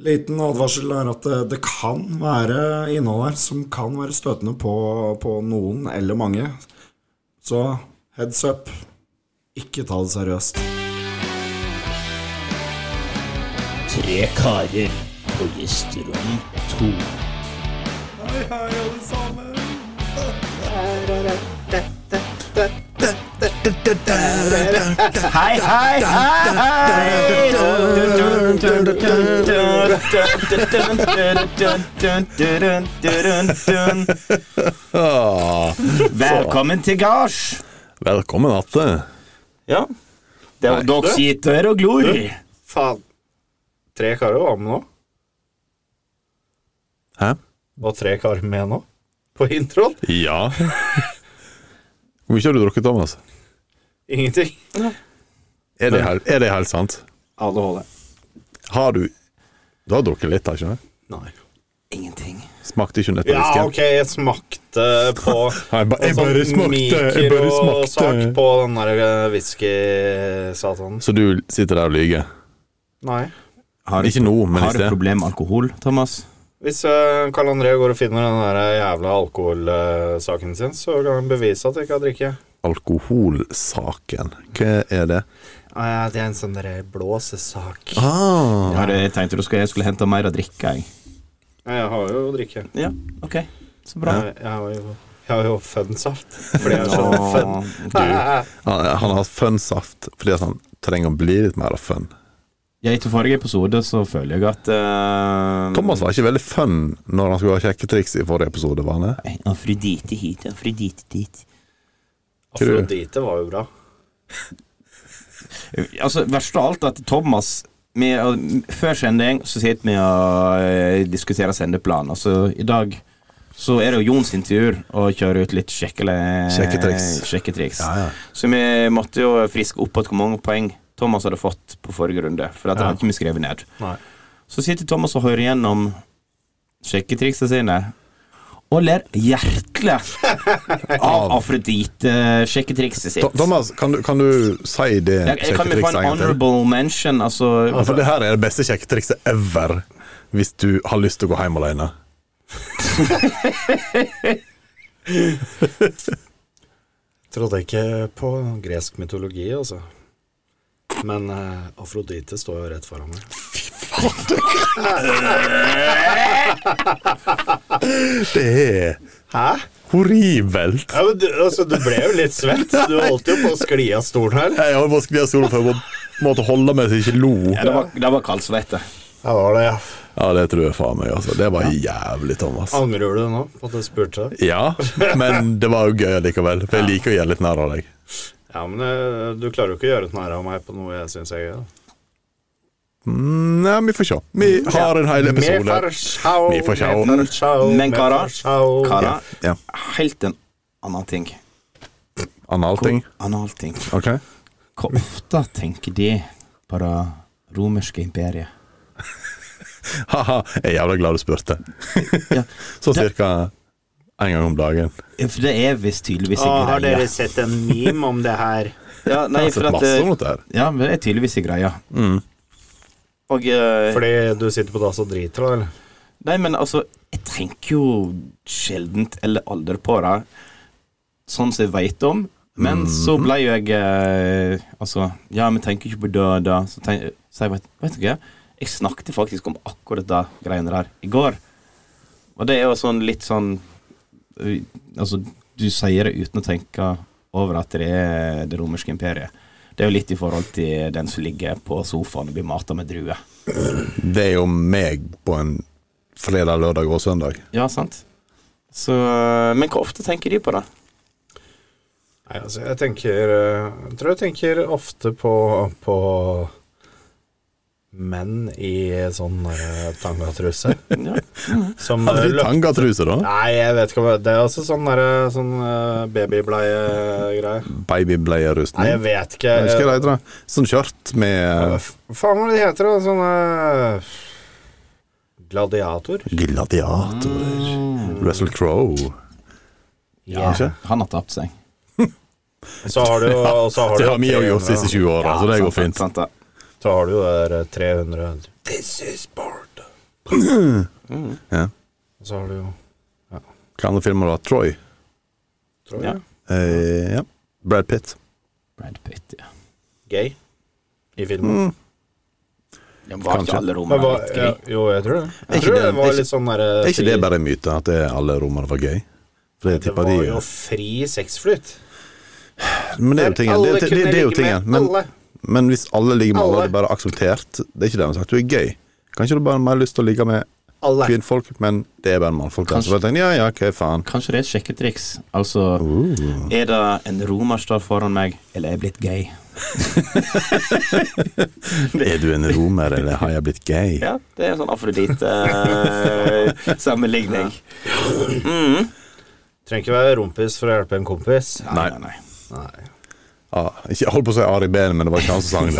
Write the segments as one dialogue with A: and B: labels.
A: Liten advarsel er at eh, det, det kan være innhold her som kan være støtende på, på noen eller mange. Så heads up. Ikke ta det seriøst.
B: Tre karer på gjesterom to. Hei, hei, hei! Velkommen til gards.
C: Velkommen atte.
B: Ja. Det er dere sitter og glor.
A: Faen. Tre karer var med nå.
C: Hæ?
A: Var tre karer med nå? På introen?
C: Ja. Hvor mye har du drukket, Thomas?
A: Ingenting.
C: Er det, hel- er det helt sant?
A: ADHD.
C: Har du Du har drukket litt, har ikke du?
A: Nei.
B: Ingenting.
C: Smakte ikke nøtt og
A: Ja,
C: whisky?
A: ok, jeg smakte på
C: Jeg ba- jeg
A: på
C: bare smakte, jeg bare
A: mikrosak
C: smakte.
A: på den der eh, whisky-satanen.
C: Så du sitter der og lyver?
A: Nei.
B: Har
C: Ikke nå, men i
B: Har du
C: sted.
B: problem med alkohol, Thomas?
A: Hvis eh, Karl André går og finner den der jævla alkoholsaken sin, så kan han bevise at jeg ikke har drikket.
C: Alkoholsaken, hva er det?
A: Ah, ja, det er en sånn der blåsesak.
C: Ah,
B: Har du tenkt at du skulle, jeg skulle hente mer å drikke? Jeg.
A: Ja, jeg har jo drikke.
B: Ja, ok. Så
A: Jeg,
B: bra.
A: jeg har jo, jeg har jo fønsaft. Fordi jeg er så fønn.
B: Nå, du.
C: han, han har fun-saft fordi at han trenger å bli litt mer av fun.
B: Ja, etter forrige episode så føler jeg at eh,
C: Thomas var ikke veldig fun når han skulle ha kjekke triks i forrige episode, var han det?
B: Nei, Afrodite hit, Afrodite dit.
A: Afrodite var jo bra.
B: Altså, verst av alt at Thomas vi, Før sending så sitter vi og eh, diskuterer sendeplan. Altså, i dag så er det jo Jons intervju og kjører ut litt sjekkele,
C: Sjekketriks.
B: sjekketriks.
C: ja.
B: Så vi måtte jo friske opp at hvor mange poeng Thomas hadde fått på forrige runde. For dette hadde ikke vi skrevet ned.
A: Nei.
B: Så sitter Thomas og hører gjennom sjekketriksene sine. Og ler hjertelig av Afrodite-sjekketrikset
C: Tho-
B: sitt.
C: Thomas, kan du, kan du si det
B: Jeg, jeg kan vi få en
C: sjekketrikset en gang til? Ah,
B: honorable mention? Altså,
C: Ja, for det her er det beste sjekketrikset ever hvis du har lyst til å gå hjem alene.
A: Trodde ikke på gresk mytologi, altså. Men eh, Afrodite står jo rett foran meg.
C: Det er
A: Hæ?
C: horribelt.
A: Ja, men du, altså, du ble jo litt svett. Du holdt jo på å skli av stolen her.
C: Jeg har bare skrevet solen for å måtte holde meg så jeg ikke lo.
B: ja, det var, det var kaldsvette.
A: Ja, var det, ja.
C: Ja, det tror jeg faen meg, altså. Det var jævlig, Thomas.
A: Angrer du nå på at du spurte?
C: Ja, men det var jo gøy likevel. For jeg liker å gjøre litt narr av deg.
A: Ja, men eh, du klarer jo ikke å gjøre et narr av meg på noe jeg syns er gøy. da.
C: Nei, vi får se. Vi har en hel
A: Vi får
C: episode.
A: sjå,
C: Vi får sjå.
A: vi får sjå,
B: Men
A: vi
B: karer,
A: får sjå.
B: Kara,
C: Ja.
B: helt en annen ting.
C: Analting.
B: Analting.
C: Ok.
B: Hvor ofte tenker de på det romerske imperiet?
C: Haha, jeg er jævla glad du spurte.
B: Ja.
C: Så cirka en gang om dagen.
B: For det er visst tydeligvis
A: Å,
B: en
A: Ah, har
B: greie.
A: dere sett en meme om det her?
B: Ja, nei,
C: Jeg har
B: for
C: sett
B: at,
C: masse Mm. om
B: eh,
C: dette her.
B: ja, men det er tydeligvis en greie. Og eh,
A: Fordi du sitter på dass og driter, da? eller?
B: Nei, men altså, jeg tenker jo sjeldent eller aldri på det, sånn som jeg veit om. Men så ble jo jeg eh, Altså, ja, vi tenker ikke på død da. Så, tenk, så jeg vet, vet du hva, jeg snakket faktisk om akkurat det greiene der i går. Og det er jo sånn litt sånn eh, Altså, du sier det uten å tenke over at det er det romerske imperiet. Det er jo litt i forhold til den som ligger på sofaen og blir mata med druer.
C: Det er jo meg på en fredag, lørdag og søndag.
B: Ja, sant. Så, eh, men hvor ofte tenker de på det?
A: Nei, altså, jeg tenker eh, Jeg tror jeg tenker ofte på, på menn i sånn eh, tangatruse.
B: Ja.
A: Som
C: Hadde
A: eh,
C: de
A: løp...
C: tangatruse, da?
A: Nei, jeg vet ikke hva Det er altså sånn derre sånn eh, babybleie-greie. Nei, jeg
C: Babybleierustning?
A: vet ikke.
C: Jeg husker det heter det. Sånn skjørt med
A: Hva faen hva det heter det? Sånn eh, Gladiator?
C: gladiatorer.
A: Ah.
C: Russell Crowe. Ikke?
B: Han har tapt seg.
A: Så har du jo og så har
C: Det
A: du
C: har vi òg gjort de siste 20 åra, så det går
B: sant,
C: fint.
B: Sant, sant,
A: Så har du jo der eh, 300 This is Sparta.
C: Ja.
D: Og så har du jo
C: Hva andre filmer var Troy?
D: Troy.
B: Ja.
C: Eh, ja. Brad Pitt.
B: Brad Pitt, ja. Gøy i filmen.
C: Mm.
B: Ja, men var
C: Kanskje.
B: ikke alle
D: Men
B: romerne
D: hva,
B: litt
D: ja,
B: gøy?
D: jo, jeg tror det.
C: Er
D: Jeg
C: ikke
D: tror
C: det-
D: det
C: er
D: var
C: ikke-
D: litt sånn derre
C: Er ikke det bare en myte, at det er alle romere var gøy? For det
D: Det
C: tipper de
D: var jo fri sexflyt.
C: Men det er jo tingen. Det, det, det, det er jo tingen. Men,
D: alle.
C: men hvis alle ligger med alle,
D: Alle.
C: og det er bare akseptert Det er ikke det man har sagt. Du er gøy. Kanskje du bare har mer lyst til å ligge med
D: alle.
C: kvinnfolk, men det er bare mannfolk. der.
B: Kanskje-
C: Så jeg tenker, ja, ja, hva faen.
B: Kanskje det er et sjekketriks. Altså,
C: Uh.
B: er det en romer står foran meg, eller er jeg blitt gay?
C: Er du en romer, eller har jeg blitt gay?
B: Ja, det er en sånn eh, afrodite-sammenligning. mm.
D: Trenger ikke være rompis for å hjelpe en kompis.
B: Nei, nei, nei.
D: Nei.
C: Ah, ikke, jeg holdt på å si Ari Behn, men det var ikke han som sang det.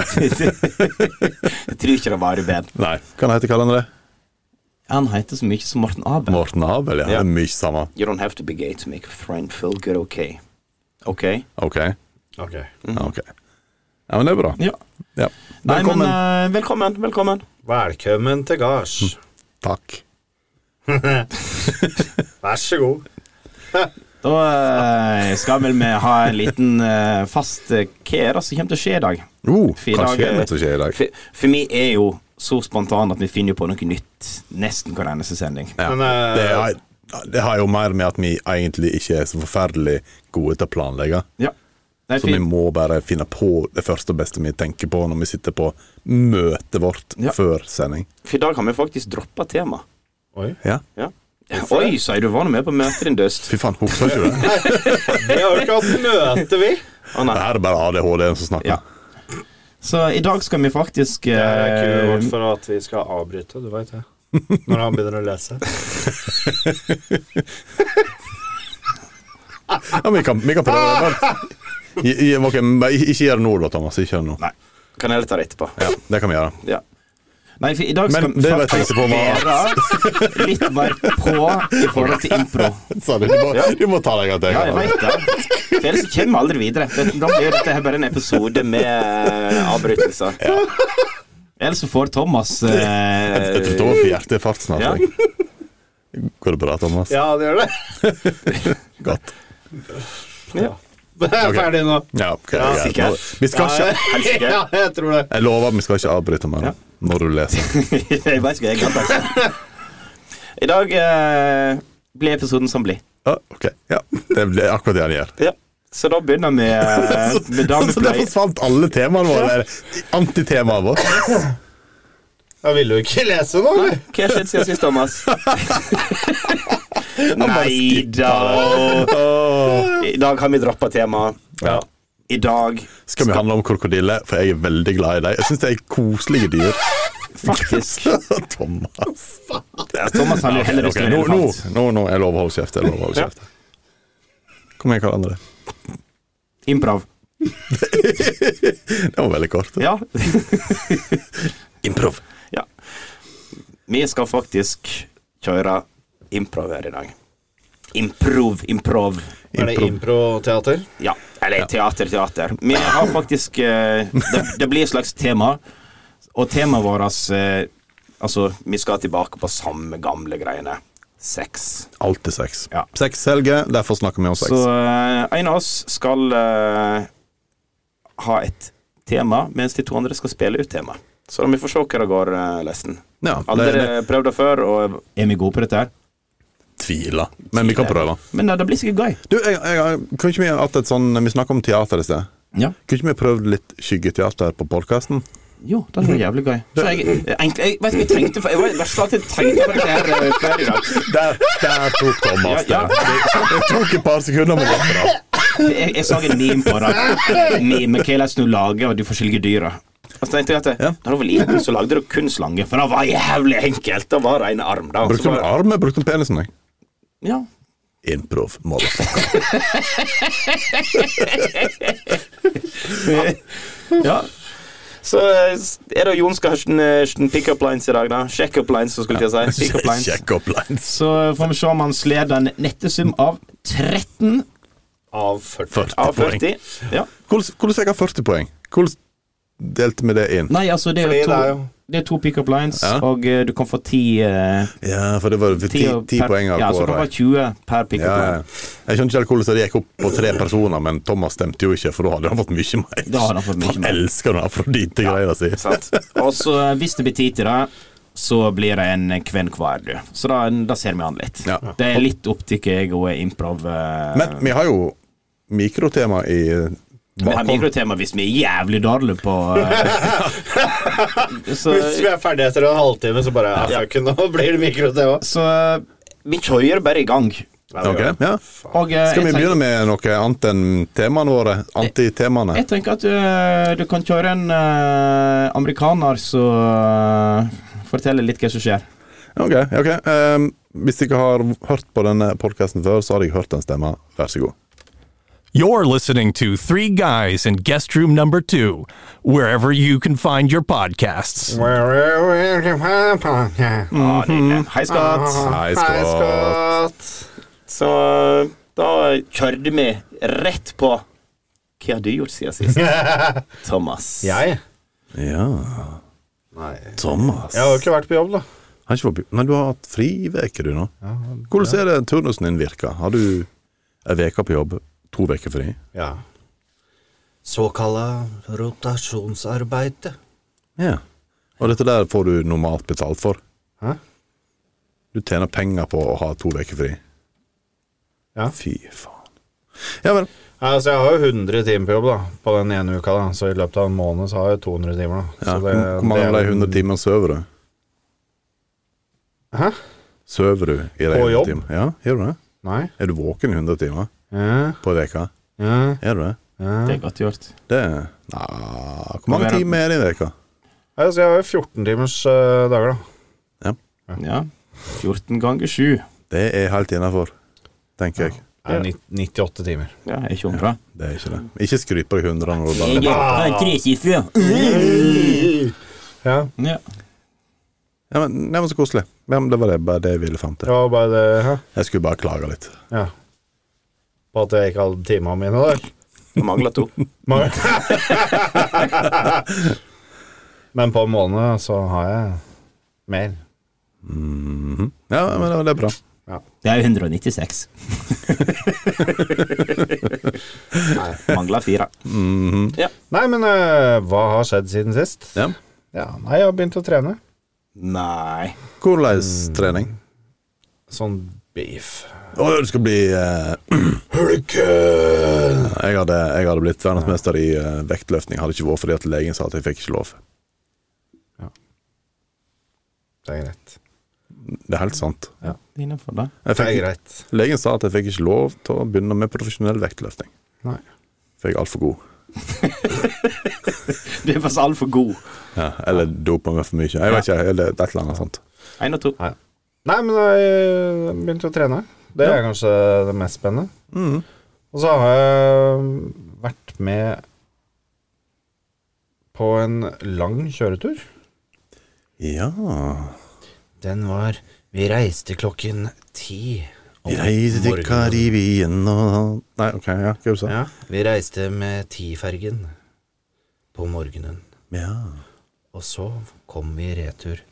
B: Jeg tror ikke det var i band.
C: Nei. Hva heter kallen det?
B: Han heter så mye som Morten Abel.
C: Morten Abel, ja.
B: Ja.
C: Det er mye samme.
B: You don't have to be gay to make a friend feel good, ok? Ok?
C: Ok.
D: Ok.
C: ok. Mhm. Ja, men det er bra.
B: Ja.
C: Ja.
B: Nei,
C: Velkommen.
B: men eh, velkommen. Velkommen.
D: Velkommen til gards.
C: Mm. Takk.
D: Vær så god.
B: Da eh, skal vel vi ha en liten eh, fast eh, Hva er det som kommer til å skje i dag?
C: Oh,
B: Fire
C: hva skjer
B: dager-
C: med det som skjer i dag?
B: For, for vi er jo så spontane at vi finner jo på noe nytt nesten hver eneste sending.
C: Ja.
D: Men, eh,
C: det, har, det har jo mer med at vi egentlig ikke er så forferdelig gode til å planlegge.
B: Ja. Det er
C: Så vi
B: fint.
C: må bare finne på det første og beste vi tenker på når vi sitter på møtet vårt
B: Ja.
C: før sending.
B: For i dag har vi faktisk droppa tema.
D: Oi.
C: Ja.
B: Ja. Oi, sier du var nå med på møtet din, Døst.
C: Fy faen, husker ikke du det?
D: Vi har jo ikke hatt møte, vi.
B: Å, nei.
C: Det her er bare ADHD-en som snakker.
B: Ja. Så i dag skal vi faktisk
D: Det er
B: eh,
D: kun vårt for at vi skal avbryte, du veit det. Når han begynner å lese.
C: Ja, men vi, kan, vi kan prøve det. Bare- I- i- ok, men bare ikke ikke gjør det nå, da, Thomas. Ikke gjør det nå.
B: Nei. Kan jeg ta det etterpå?
C: Ja, det kan vi gjøre.
B: Ja. Nei, for i dag
C: Men
B: skal
C: det jeg tenkte på var-
B: være litt mer på i forhold til impro.
C: Sa du, du, må, du må ta deg av det.
B: Ja, jeg veit det. For ellers kommer vi aldri videre. Det- Da blir dette her bare en episode med eh, avbrytelser. Ellers så får Thomas eh,
C: Jeg forstår for hjertet er fart snart.
B: Ja.
C: jeg. Går det bra, Thomas?
D: Ja, det gjør det.
C: Godt.
B: ja.
D: Det er
C: Ok.
D: ferdig nå.
C: Ja, ok,
D: Ja,
C: greit.
B: sikkert.
C: Nå- Vi skal ikke
B: Kanskje ikke.
D: ja, jeg tror det.
C: Jeg lover at vi skal ikke avbryte mer
B: Ja.
C: når du leser.
B: Jeg vet ikke, jeg kan det. I dag eh, blir episoden som blir.
C: Ja, ok, ja. Det er akkurat det han gjør.
B: Ja. Så da begynner vi eh, med det
C: Så,
B: vi
C: så der
B: pleier.
C: Altså, forsvant alle temaene våre. eller Antitemaet vårt.
D: Jeg ville jo ikke lese nå, eller?
B: Hva skjedde siden sist, Thomas? Nei da. I dag har vi droppa temaet.
C: Ja.
B: I dag,
C: Skal vi handle om krokodiller? For jeg er veldig glad i dem. Jeg syns de er koselige dyr.
B: faktisk
C: Thomas.
B: Thomas har jo heller lyst
C: Ok,
B: til å
C: nå,
B: være
C: nå,
B: elefant.
C: nå, nå, jeg lover å holde kjeft. Jeg lover å holde kjeft. Kom igjen, hverandre.
B: Improv.
C: Det var veldig kort.
B: Ja.
C: Improv.
B: ja. Vi skal faktisk kjøre improv her i dag. Improv, improv.
D: Er det improteater?
B: Ja. Eller teater, teater. Vi har faktisk eh, det, det blir et slags tema, og temaet vårt eh, Altså, vi skal tilbake på samme gamle greiene. Sex.
C: Alltid sex.
B: Ja.
C: Sex, Helge. Derfor snakker vi om sex.
B: Så eh, en av oss skal eh, ha et tema, mens de to andre skal spille ut tema. Så da må vi få se hva det går, uh, Lesten.
C: Ja,
B: Aldri
C: det- det-
B: prøvd det før, og er vi gode på dette? her?
C: Tviler. Men vi kan prøve.
B: Men eh, det blir sikkert gøy.
C: Du, jeg, jeg, kunne ikke vi hatt et sånn Vi snakket om teater i sted.
B: Ja.
C: Kunne ikke vi prøvd litt skyggeteater på podkasten?
B: Jo, det hadde vært jævlig gøy. Så jeg, egentlig, jeg vet ikke, jeg tenkte for, Jeg var i verste fall at jeg tenkte på dette her eh, før i dag.
C: Der, der tok Thomas
B: Ja, ja.
C: det. Det- Det tok et par sekunder, men det var bra.
B: Jeg, jeg så en meme på det. Meme med hva du lager av de forskjellige dyra. Og så Altså, tenkte jeg at eh,
C: Ja.
B: Da du var liten, så lagde du kun slange, for det var jævlig enkelt. Det var en arm, da. og så
C: Brukte du
B: bare-
C: armen? Brukte du penisen? Jeg.
B: Ja.
C: Improv, motherfucker.
B: ja. Så eh, er det Jon skal ha sin, eh, sin pick-up lines i dag, da. Check-up lines, så skulle jeg til å si. Pick-up lines.
C: Check up lines.
B: Så får vi se om han sleder en nettesum av 13
D: Av 40.
C: 40
B: av
C: poeng.
B: 40. Ja.
C: Hvordan hvordan jeg har 40 poeng? Hvordan delte vi det inn?
B: Nei, altså, det er
D: Fordi
B: jo
D: det er
B: to
D: jo
B: Det er to pickup lines,
C: Ja.
B: og eh, du kan få ti, eh,
C: Ja, for det var ti,
B: ti, og
C: ti
B: per-
C: poeng av
B: Ja, så kan du
C: Kåre.
B: ha 20 per pickup
C: Ja, ja.
B: line.
C: Jeg skjønner ikke helt hvordan det gikk opp på tre personer, men Thomas stemte jo ikke, for da hadde han fått mye mer.
B: Da hadde han fått mye mer.
C: elsker den afrodite-greia si.
B: Sant? Og så eh, hvis det blir tid til det, så blir det en kvenn hver, du. Så da, da ser vi an litt.
C: Ja.
B: Det er litt opp til hva jeg og improv eh,
C: Men vi har jo mikrotema i
B: Vi har
C: bakhånd.
B: mikrotema hvis vi er jævlig dårlige på eh, så,
A: Hvis vi er ferdige etter en halvtime, så bare ja, fuck, Nå blir det mikrotema.
B: så eh, vi kjører bare i gang.
C: Ok, ja.
B: Og, eh,
C: Skal vi
B: jeg tenker-
C: begynne med noe annet enn temaene våre? Antitemaene?
B: Jeg tenker at du, du kan kjøre en eh, amerikaner som forteller litt hva som skjer.
C: Ok, ok. Ehm, hvis dere har hørt på denne podkasten før, så har jeg hørt den stemma. Vær så god.
E: You're listening to Three Guys in Guest Room Number Two, wherever you can find your podcasts.
B: Ja, det er det. Hei, skatt.
C: Hei, Scott.
B: Så da kjørte vi rett på Hva har du gjort siden sist, Thomas?
A: Jeg?
C: Ja,
A: Nei.
C: Thomas.
A: Jeg har jo ikke vært på jobb, da.
C: Har ikke vært på- Nei, du har hatt fri uke, du, nå. Hvordan er det turnusen din virker? Har du ei uke på jobb, to uker fri?
A: Ja. Såkalla rotasjonsarbeide.
C: Ja. Og dette der får du normalt betalt for?
A: Hæ?
C: Du tjener penger på å ha to uker fri?
A: Ja.
C: Fy faen. Ja vel.
A: Nei, altså Jeg har jo 100 timer på jobb da på den ene uka, da så i løpet av en måned så har jeg 200 timer. da
C: Ja.
A: så
C: Hvor hvor mange av de 100 timene sover du?
A: Hæ?
C: Sover du i de
A: På
C: 100
A: jobb?
C: timene? Ja, gjør du det?
A: Nei?
C: Er du våken i 100 timer
A: Ja,
C: på veka?
A: ja,
C: Er du det?
A: ja.
B: Det er godt gjort.
C: Det er Nei, Hvor mange
B: Hver-
C: timer er det i veka?
A: Nei, altså Jeg har jo 14 timers eh, dager, da.
B: Ja. 14 ganger 7.
C: Det er helt innafor, tenker jeg.
A: Nei, nitt- 98 timer.
B: Ja, er ikke hun bra?
C: Det er ikke det. Ikke skryt på deg 100 når du bare
A: Ja,
B: Ja.
C: ja, men, Nei, men så koselig. Ja, men det var det, bare det jeg ville fram
A: det
C: til.
A: var bare det. Hæ?
C: Jeg skulle bare klage litt.
A: Ja. På at jeg ikke hadde timene mine der.
B: Mangla to.
A: Mange- Men på en måned så har jeg mer.
C: Ja, men det, det er bra.
B: Det er 196. Mangla fire.
A: Nei, men eh, hva har skjedd siden sist?
C: Ja.
A: Ja, nei, jeg har begynt å trene.
B: Nei.
C: Hvordan trening?
A: Sånn beef.
C: Å, du skal bli eh,
A: Hulken!
C: jeg, hadde, jeg hadde blitt verdensmester i eh, vektløftning. Hadde ikke vært fordi at legen sa at jeg fikk ikke lov.
A: Det er greit.
C: Det er helt sant.
B: Innenfor det.
C: Jeg
A: Det er
C: fikk,
A: greit.
C: legen sa at jeg fikk ikke lov til å begynne med profesjonell vektløfting.
A: Nei.
C: For jeg er altfor god.
B: Du er faktisk altfor god.
C: Ja, eller dopa meg for mye. Jeg vet ikke, eller et eller annet sånt.
B: Én og to.
A: Nei, men jeg begynte å trene. Det er kanskje det mest spennende. Og så har jeg vært med på en lang kjøretur.
C: Ja
A: Den var Vi reiste klokken ti.
C: Vi reiser til Karibien og Nei, OK, ja, hva du sa du?
A: Ja, vi reiste med Ti-fergen på morgenen.
C: Ja.
A: Og så kom vi i retur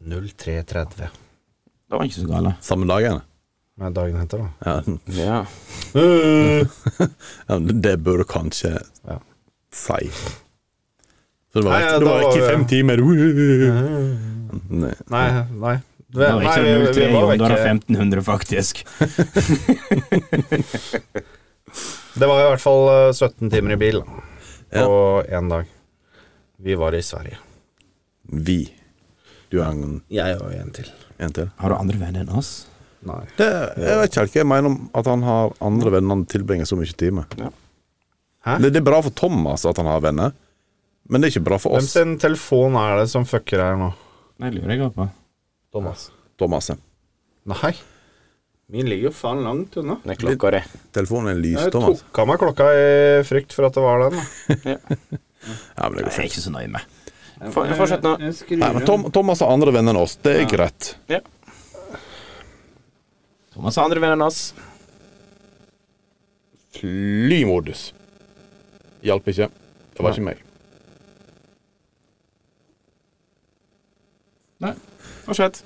A: 03.30.
B: Det var ikke så gale.
C: Samme dagen?
A: Nei, dagen etter, da. Mm.
C: Ja.
B: Ja.
C: ja, men det bør du kanskje
A: Ja.
C: si. Så det var,
A: Nei, ja,
C: ikke- det
A: da
C: var
A: var
C: ikke
A: vi-
C: fem timer uh. Nei.
A: Nei, nei. Vi,
B: Det var
A: nei,
B: ikke
A: vi- vi
B: 03,
A: var eh,
B: Jon. Det var
A: vekke.
B: 1500, faktisk.
A: Det var i hvert fall eh, 17 timer i bil da,
C: Ja.
A: på én dag. Vi var i Sverige.
C: Vi. Du har en,
A: Jeg og en til.
C: en til?
B: Har du andre venner enn oss?
A: Nei.
C: Det, jeg vet ikke helt hva jeg mener om at han har andre venner han tilbringer så mye tid med.
A: Hæ?
C: Det, det er bra for Thomas at han har venner, men det er ikke bra for
A: Hvem
C: oss.
A: sin telefon er det som fucker her nå?
B: Nei, lurer jeg på.
A: Thomas.
C: Thomas.
A: Nei. Min ligger jo faen langt unna.
B: Nei, klokka det.
C: Telefonen er lys,
A: Jeg
C: Thomas.
A: tok av meg klokka i frykt for at det var den. da.
C: Ja, men det går
B: Jeg
C: fint.
B: er ikke så nøye med. For- Fortsett nå.
A: Jeg skrur
C: Nei, men Tom, Thomas har andre venner enn oss. Det er greit.
B: Thomas har andre venner enn oss.
C: Flymodus. Hjalp ikke. Det var ikke meg.
B: Nei. Fortsett.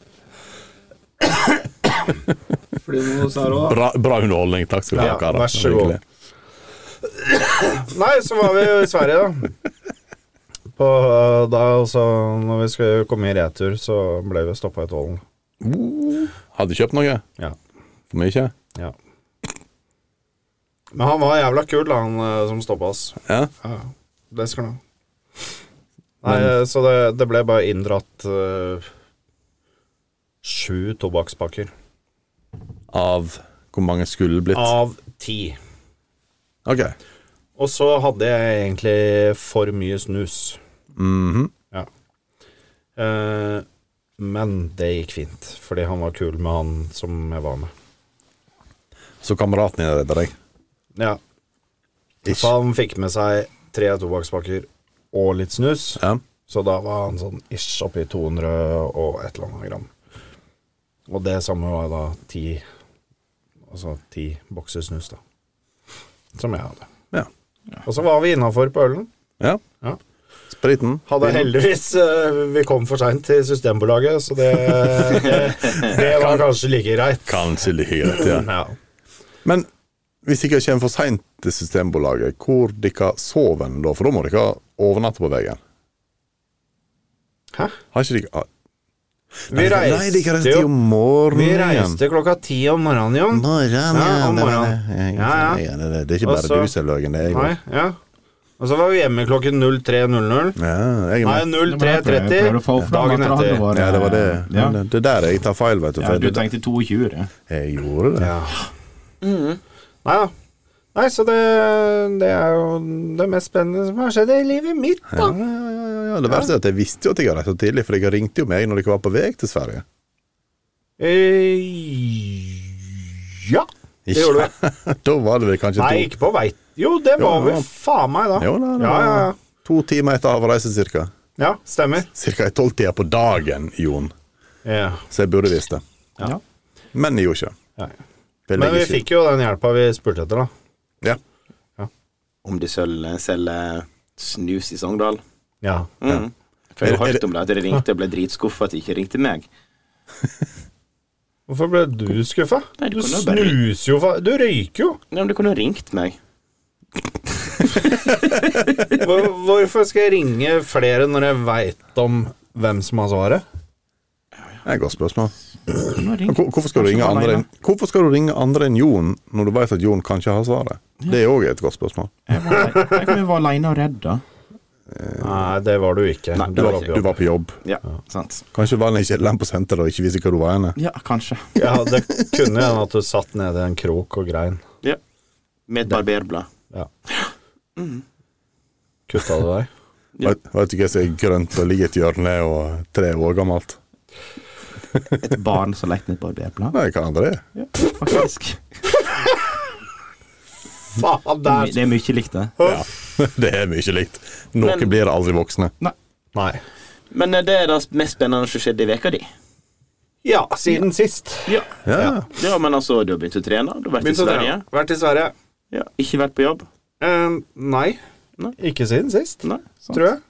A: Fordi noe sa du også.
C: Bra, bra underholdning. Takk skal du ha,
A: Ja,
C: karer.
A: vær så god.
C: Virkelig.
A: Nei, så var vi jo i Sverige, da. På, eh, da også, når vi skulle komme i retur, så ble vi stoppa i tollen.
C: Hadde kjøpt noe?
A: Ja.
C: For mye?
A: ja. Men han var jævla kul, da, han eh, som stoppa oss.
C: Ja.
A: Ja, ja. det skal han ha. Nei, eh, så det, det ble bare inndratt eh, sju tobakkspakker.
C: Av hvor mange skulle blitt?
A: Av ti.
C: Ok.
A: Og så hadde jeg egentlig for mye snus.
C: Mhm.
A: Ja. Eh, men det gikk fint, fordi han var kul med han som jeg var med.
C: Så kameraten din redder deg?
A: Ja. Så
C: Ikke?
A: han fikk med seg tre tobakkspakker og litt snus,
C: Ja.
A: så da var han sånn ish oppi 200 og et eller annet gram. Og det samme var da ti Altså ti bokser snus, da. Som jeg hadde.
C: ja.
A: Og så var vi innafor på ølen.
C: Ja.
A: Ja.
C: Spriten?
A: Hadde heldigvis eh, Vi kom for seint til Systembolaget, så det, det, det var kanskje like greit.
C: Kanskje like greit, ja.
A: Mm, Ja.
C: Men hvis dere kommer for seint til Systembolaget, hvor dere sover en da? For da må dere overnatte på veien.
A: Hæ?
C: Har ikke dere
A: Vi
C: Nei, dere
A: reiste
C: reiste jo
A: jo
C: morgenen.
A: Vi reiste klokka ti om morgenen, Jon.
C: Morgen,
A: Ja, om
C: det var
A: morgenen.
C: det. Jeg-
A: Ja, ja.
C: jeg- Det, det er ikke
A: Og
C: bare
A: så-
C: du som er løgn, det er jeg
A: Nei,
C: òg.
A: ja. Og så var vi hjemme klokken 03.00.
C: Ja, jeg er
A: Nei,
B: Jeg
C: med.
B: prøver å
A: 03.30
B: få fram
A: dagen
B: at det hadde
A: etter.
B: vært-
C: Ja, det var det.
B: Ja.
C: Men Det er der jeg tar feil, vet du.
B: Ja,
C: For
B: du
C: det-
B: tenkte 22, du.
C: jeg gjorde det.
A: Ja. Nei da. Nei, så det, det er jo det mest spennende som har skjedd i livet mitt, da.
C: Ja, ja, ja, ja, ja. Det verste er at jeg visste jo at jeg hadde reist så tidlig, for jeg ringte jo meg når dere var på vei til Sverige.
A: Eh, ja. Det gjorde du.
C: da var det vel kanskje
A: Nei,
C: to
A: ikke på vei Jo, det
C: Jo,
A: var
C: det
A: vi
C: var-
A: faen meg, da.
C: Jo, da, det
A: ja, ja,
C: var
A: ja.
C: to timer etter avreise, cirka.
A: ja, stemmer.
C: Cirka i tolvtida på dagen, Jon.
A: Ja.
C: Så jeg burde visst det.
A: Ja.
C: Men jeg gjorde ikke.
A: Nei.
C: det.
A: Men vi fikk jo den hjelpa vi spurte etter, da.
C: Ja.
B: Om de selger, selger snus i Sogndal.
A: Ja.
B: Mm. For jeg
C: Er- er
B: har
C: det-
B: hørt om det, at de ringte og ble dritskuffa at de ikke ringte meg.
A: Hvorfor ble du skuffa?
B: Nei,
A: Du
B: du kan jo bare-
A: snuser jo fa... Du røyker jo!
B: Nei, men de kunne ha ringt meg.
A: Hvor, hvorfor skal jeg ringe flere når jeg veit om hvem som har svaret?
C: Det er et godt spørsmål.
B: De kunne ha ringt.
C: Men hvor- Hvorfor skal, du ringe andre enn, hvorfor skal du ringe andre enn Jon når du vet at Jon kan ikke ha svaret? Det er òg et godt spørsmål.
B: Jeg var alene- Tenk om jeg var aleine og redd, da.
A: Nei, det var du ikke.
B: Nei,
A: du
B: det
A: var
B: var
A: på
B: ikke-
C: Du
A: jobb.
C: var på jobb.
B: Ja, sant.
C: Kanskje var han i kjelleren på senteret og ikke visste hvor du var henne.
B: Ja, kanskje.
A: Ja, det kunne hende at du satt nede i en krok og grein.
B: Ja. Med et barberblad.
A: Ja. Kutta du deg?
B: Ja.
C: Vet, vet du hva som er grønt og ligger i et hjørne og tre år gammelt?
B: Et barn som lekte med et barberblad.
C: Nei, hva andre er det?
B: Ja, faktisk.
A: Faen, det er
B: Det er mye likt, det.
C: Ja, det er mye likt. Noen
B: Men-
C: blir aldri voksne.
B: Nei.
A: Nei.
B: Men eh, det er det mest spennende som skjedde i veka di.
A: Ja, siden sist.
B: Ja.
C: Ja,
B: ja, men altså, du har begynt å trene. Du har vært i
A: Begynt å
B: Sverige.
A: trene. Vært i Sverige.
B: Ja, ikke vært på jobb.
A: Eh, nei.
B: Nei.
A: Ikke siden sist,
B: Nei, sant.
A: tror jeg.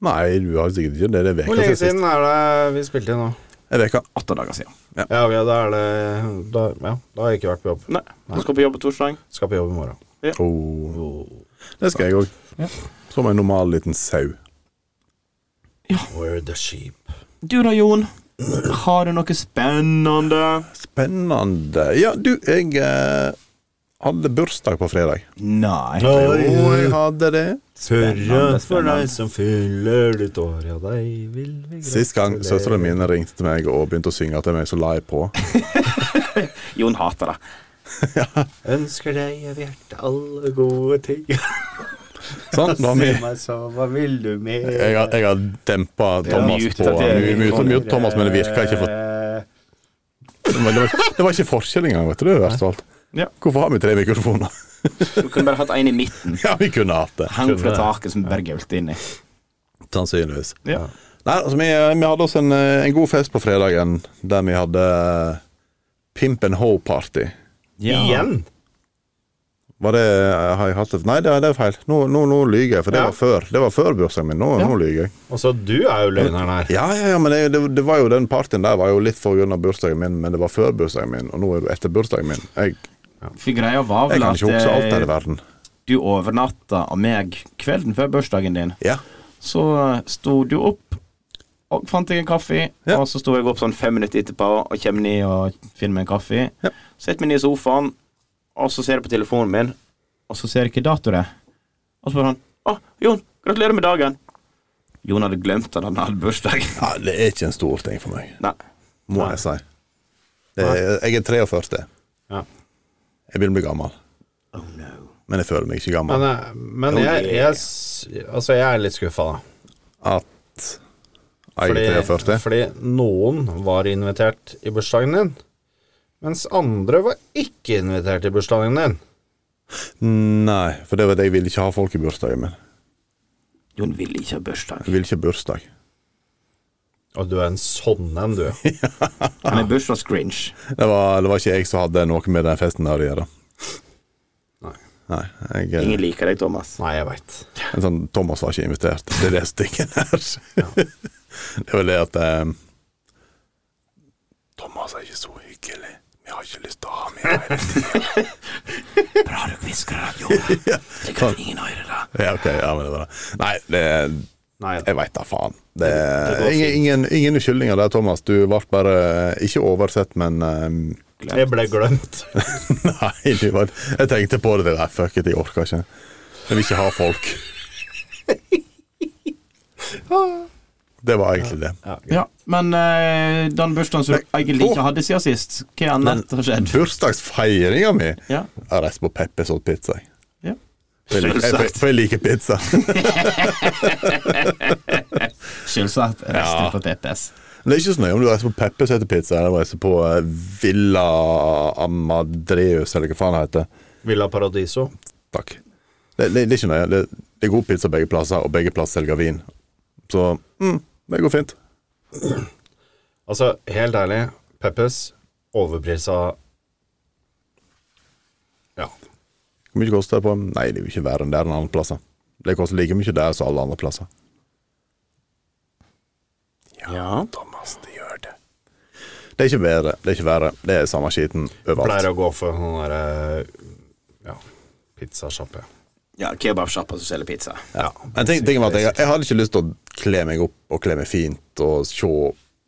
C: Nei, du har sikkert ikke det. Det er veka
A: Hvor lenge
C: til sist.
A: siden er det vi spilte inn nå?
C: En veka.
B: Åtte dager siden.
A: Ja, ok, da er det da, Ja, da har jeg ikke vært på jobb.
B: Nei, du skal på jobb på torsdag.
A: Skal på jobb i morgen.
C: Oh. Det skal jeg òg. Som en normal liten sau.
A: Where the sheep.
B: Du da, Jon? Har du noe spennende?
C: Spennende. Ja, du, jeg eh, hadde bursdag på fredag.
B: Nei.
C: Jo, jeg hadde det.
B: Spennende,
A: Hurra for
B: spennende.
A: deg som fyller ditt år, ja, deg vil vi
C: Sist gang søstrene mine ringte til meg og begynte å synge til meg, så la jeg på.
B: Jon hater det.
A: Ønsker deg av hjertet alle gode ting.
C: Sånn, da har
A: Si
C: vi
A: meg så, hva vil du mer?
C: jeg har, jeg har dempa Thomas
B: mute
C: på
B: til-
C: mute, mute Thomas, men det virka ikke for men det, var, det var ikke forskjell engang, vet du. Det er verst av alt.
B: Ja.
C: Hvorfor har vi tre mikrofoner?
B: Du kunne bare hatt en i midten.
C: Ja, vi kunne hatt det.
B: Hang fra taket som bare gaulte inni.
C: Sannsynligvis.
B: Ja.
C: Nei, altså, vi, vi hadde oss en, eh, en god fest på fredagen der vi eh, hadde Pimp and Hoe-party.
B: Ja.
A: Igjen?
C: Var det, eh, har jeg hatt det? Nei, det, det er feil. Nå, nå, nå lyver jeg, for det
A: Ja.
C: var før Det var før bursdagen min. Nå, nå lyver jeg.
A: Altså, du er jo løgneren her.
C: Ja, ja, ja, men det, det, det var jo den partyen der var jo litt for grunn av bursdagen min, men det var før bursdagen min, og nå er det etter bursdagen min. Jeg,
B: For greia var
C: jeg
B: vel
C: kan
B: at
C: ikke huske alt her i
B: eh,
C: verden.
B: du overnatta av meg kvelden før bursdagen din.
C: Ja.
B: Så eh, sto du opp og fant deg en kaffe,
C: Ja.
B: og så sto jeg opp sånn fem minutter etterpå og kommer ned og finner meg en kaffe.
C: Ja.
B: Setter meg ned i sofaen, og så ser jeg på telefonen min, og så ser jeg ikke dato det er. Og så spør han Å, Jon, gratulerer med dagen. Jon hadde glemt at han hadde bursdag.
C: ja, det er ikke en stor ting for meg,
B: Nei.
C: må jeg si. Det, jeg er 43.
A: Ja.
C: Jeg vil bli gammel,
B: Oh no.
C: men jeg føler meg ikke
A: Men,
C: gammel.
A: eh, men jeg, jeg, s- altså, jeg er litt skuffa, da.
C: At jeg er 43?
A: fordi noen var invitert i bursdagen din, mens andre var ikke invitert i bursdagen din.
C: Nei, for det var det jeg ville ikke ha folk i bursdagen min.
B: Jon ville ikke ha bursdag.
C: Jeg ville ikke ha bursdag.
A: Og du er en sånn en, du.
B: Han er bursdagsgrinch.
C: Det var, det var ikke jeg som hadde noe med den festen her å gjøre.
A: Nei.
C: Nei, jeg, eh,
B: Ingen liker deg, Thomas.
A: Nei, jeg veit.
C: En sånn Thomas var ikke invitert. Det er det stykket her. det er vel det at eh, Thomas er ikke så hyggelig. Vi har ikke lyst til å ha med deg.
B: Bra du hvisker det, Jon. Det kan ingen høre, da.
C: ja, ok, ja, men det var det. Nei, det,
A: Nei,
C: jeg veit da faen. Det,
B: Det går
C: ingen, ingen, ingen unnskyldninger der, Thomas. Du ble bare eh, ikke oversett, men eh,
A: jeg ble glemt.
C: Nei, du var, jeg tenkte på det. Nei, fuck it, jeg orker ikke. Jeg vil ikke ha folk. Det var egentlig det.
B: Ja, men eh, den bursdagen som du egentlig ikke hadde siden sist, hva annet har skjedd?
C: Bursdagsfeiringa mi
B: Ja.
C: Jeg har reist på Peppers og pizza. jeg.
B: ja.
C: For jeg liker- jeg-
B: Selvsagt.
C: For jeg liker pizza.
B: Selvsagt. Resten på TPS.
C: Men det er ikke så nøye om du reiser på Peppers heter pizza, eller reiser på eh, Villa Amadreus, eller hva faen det heter.
A: Villa Paradiso.
C: Takk. Det, det, det er ikke nøye. Det, det er god pizza begge plasser, og begge plasser selger vin. Så mm, det går fint.
A: Altså, helt ærlig, Peppes overprisa Ja.
C: Hvor mye koster det på Nei, det er jo ikke verre enn der enn andre plasser. Det koster like mye der som alle andre plasser.
B: Ja.
C: Thomas, det gjør det. Det er ikke bedre, det er ikke verre. Det er samme skiten
A: Pleier
C: overalt.
A: å gå for sånn derre Ja, pizzasjappe.
B: ja Kebabsjappa som selger pizza.
A: Ja.
C: Men ting, ting var at jeg, jeg hadde ikke lyst til å kle meg opp og kle meg fint og se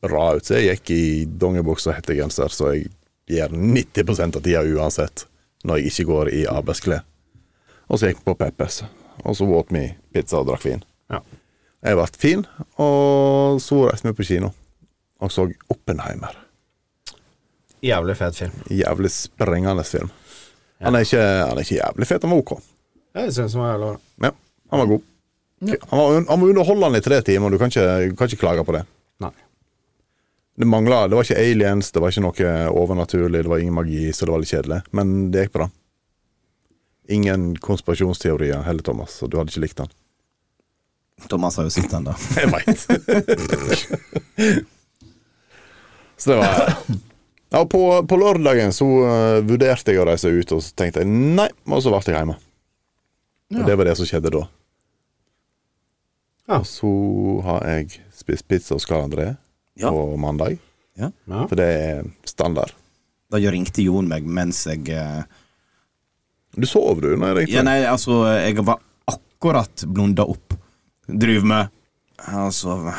C: bra ut, så jeg gikk i dongeribukse og hettegenser, så jeg gjør 90 av tida uansett når jeg ikke går i arbeidsklær. Og så gikk vi på Peppes, og så åt vi pizza og drakk vin.
A: Ja.
C: Jeg ble fin, og så reiste vi på kino og så Oppenheimer.
A: Jævlig fet film.
C: Jævlig sprengende film. Han, er ikke, han er ikke jævlig fet, han var ok.
A: Jeg syns den var jævlig bra.
C: Ja, han var god. Han, var, un- han var underholdende i tre timer, du kan ikke, du kan ikke klage på det.
A: Nei.
C: Det manglet, det var ikke aliens, det var ikke noe overnaturlig, det var ingen magi, så det var litt kjedelig. Men det gikk bra. Ingen konspirasjonsteorier heller, Thomas, så du hadde ikke likt han.
B: Thomas har jo sett den, da.
C: Jeg veit. så det var ja, på, på lørdagen så eh, vurderte jeg å reise ut, og så tenkte jeg nei, og så ble jeg hjemme. Og det var det som skjedde da.
A: Ja.
C: Og så har jeg spist pizza hos Karl André
B: Ja.
C: på mandag,
A: Ja.
C: for det er standard.
B: Da gjør- ringte Jon meg mens jeg eh,
C: Du sov, du, når jeg
B: Ja,
C: ringte?
B: nei, altså, jeg var akkurat blunda opp. Driver med Altså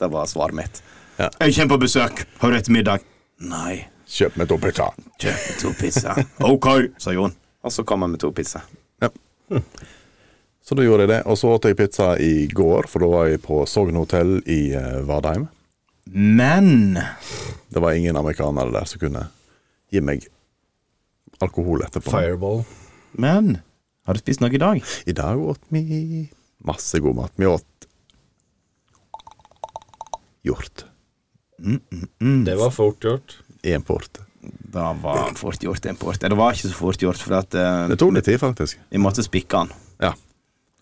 B: Det var svaret mitt.
C: Ja.
B: Jeg kommer på besøk. Har du ettermiddag? Nei.
C: Kjøp meg to pizza.
B: Kjøp meg to pizza. ok, sa Jon. Og så kom han med to pizza.
C: Så da gjorde jeg det, og så åt jeg pizza i går, for da var jeg på Sogn hotell i eh, Vadheim.
B: Men
C: Det var ingen amerikanere der som kunne gi meg alkohol etterpå.
A: Fireball.
B: Men har du spist noe i dag?
C: I dag åt vi masse god mat. Vi åt hjort.
A: Det var fort gjort.
C: Én port.
B: Da var han fort gjort import. Det var ikke så fort gjort, for at eh,
C: Det tok litt tid, faktisk.
B: vi måtte spikke han.
C: Ja.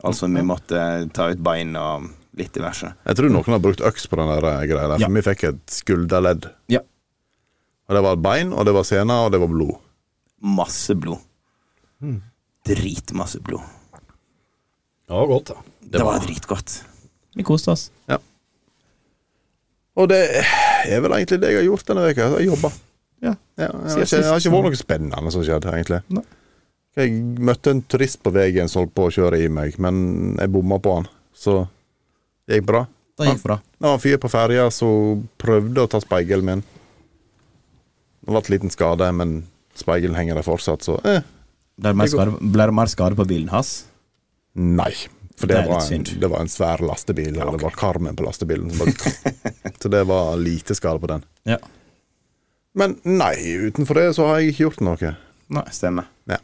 B: Altså, vi måtte ta ut bein og litt diverse.
C: Jeg tror noen har brukt øks på den der eh, greia der, for
B: Ja.
C: vi fikk et skulderledd.
B: Ja.
C: Og det var bein, og det var sener, og det var blod.
B: Masse blod. dritmasse blod.
A: Det var godt, da.
B: Det, var dritgodt. Vi koste oss.
C: Og det er vel egentlig det jeg har gjort denne veka Jeg har jobba.
B: Ja.
C: Ja, jeg, har ikke- jeg har ikke vært noe spennende som skjedde, egentlig.
B: Nei.
C: Jeg møtte en turist på veien som holdt på å kjøre i meg, men jeg bomma på han. Så det gikk bra.
B: Det gikk bra.
C: Det var en fyr på ferja som prøvde å ta speigelen min. Det ble en liten skade, men speigelen henger der fortsatt, så eh,
B: Ble det mer skade, ble det mer skade på bilen hans?
C: nei. For det,
B: Det er
C: var,
B: litt
C: en,
B: synd.
C: det var en svær lastebil, og det var karmen på lastebilen. Som bare, så det var lite skade på den.
B: Ja.
C: Men nei, utenfor det så har jeg ikke gjort noe.
B: Nei, stemmer.
C: Ja.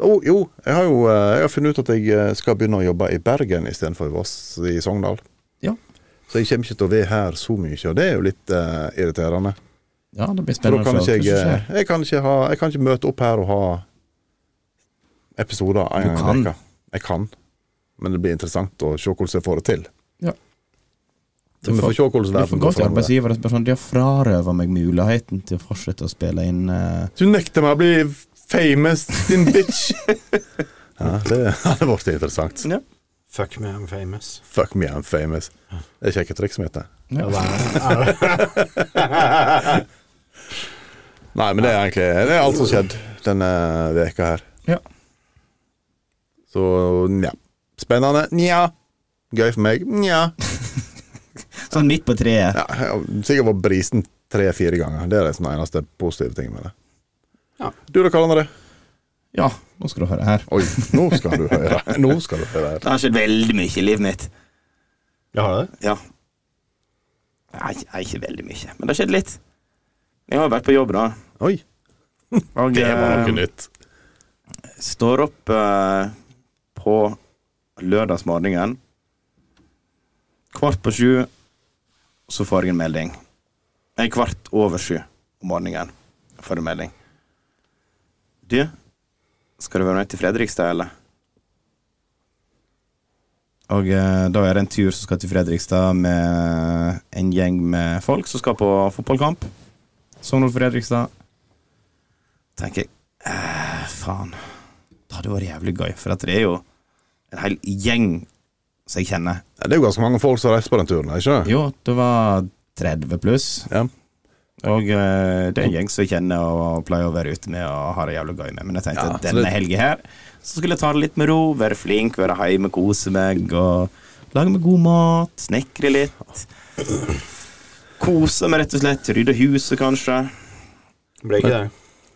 C: Å, jo, jeg har jo eh, jeg har funnet ut at jeg eh, skal begynne å jobbe i Bergen istedenfor i Voss i Sogndal.
B: Ja.
C: Så jeg kommer ikke til å være her så mye, og det er jo litt eh, irriterende.
B: ja, det blir
C: For da
B: spennende.
C: kan
B: å se
C: ikke jeg,
B: hva som skjer.
C: eh, jeg, kan ikke ha, jeg kan ikke møte opp her og ha episoder en
B: Du
C: gang i
B: kan.
C: veka. Jeg kan, men det blir interessant å se hvordan jeg får det til.
B: Ja.
C: Så vi får se
B: Det
C: hvordan
B: er for
C: verden går
B: godt
C: framover.
B: arbeidsgivere spør sånn De har frarøvet meg muligheten til å fortsette å spille inn eh,
C: Du nekter meg å bli famous, din bitch! ja, det hadde vært interessant.
A: Fuck me, I'm famous.
C: Fuck me, I'm famous. Det er kjekke triks som heter
A: Ja, det er, er det.
C: Nei, men det er egentlig det er alt som skjedd denne veka her.
B: Ja.
C: Så nja. Spennende. Nja. Gøy for meg. Nja.
B: Sånn midt på treet.
C: Ja, jeg har sikkert vært brisen tre-fire ganger. Det er liksom den eneste positive tingen med det.
A: Ja.
C: Du da, Karl André?
B: Ja, nå skal du høre her.
C: Oi, nå skal du høre. Nå skal du høre her.
B: Det har skjedd veldig mye i livet mitt.
A: Jeg har det.
B: Ja. Nei, ikke- ikke veldig mye, men det har skjedd litt. Jeg har jo vært på jobb, da.
C: Oi,
B: Og,
C: det var
B: eh,
C: noe nytt.
B: står opp eh, på lørdagsmorgenen. Kvart på sju, så får jeg en melding. Nei, kvart over sju om morgenen får jeg en melding. Du, skal du være med til Fredrikstad, eller? Og eh, da er det en tur som skal til Fredrikstad med en gjeng med folk som skal på fotballkamp. Sogndal-Fredrikstad. Tenker jeg, eh, faen. Det hadde vært jævlig gøy, for at det er jo en hel gjeng som jeg kjenner.
C: Ja, det er jo ganske mange folk som reiser på den turen, er det ikke det?
B: Jo, det var 30 pluss,
C: Ja.
B: og eh, det er en gjeng som jeg kjenner og pleier å være ute med og ha det jævlig gøy med. Men jeg tenkte
C: Ja,
B: at
C: så
B: denne
C: det-
B: helga her så skulle jeg ta det litt med ro, være flink, være hjemme, kose meg og lage meg god mat, snekre litt. Kose meg, rett og slett. Rydde huset, kanskje.
A: Ble ikke det.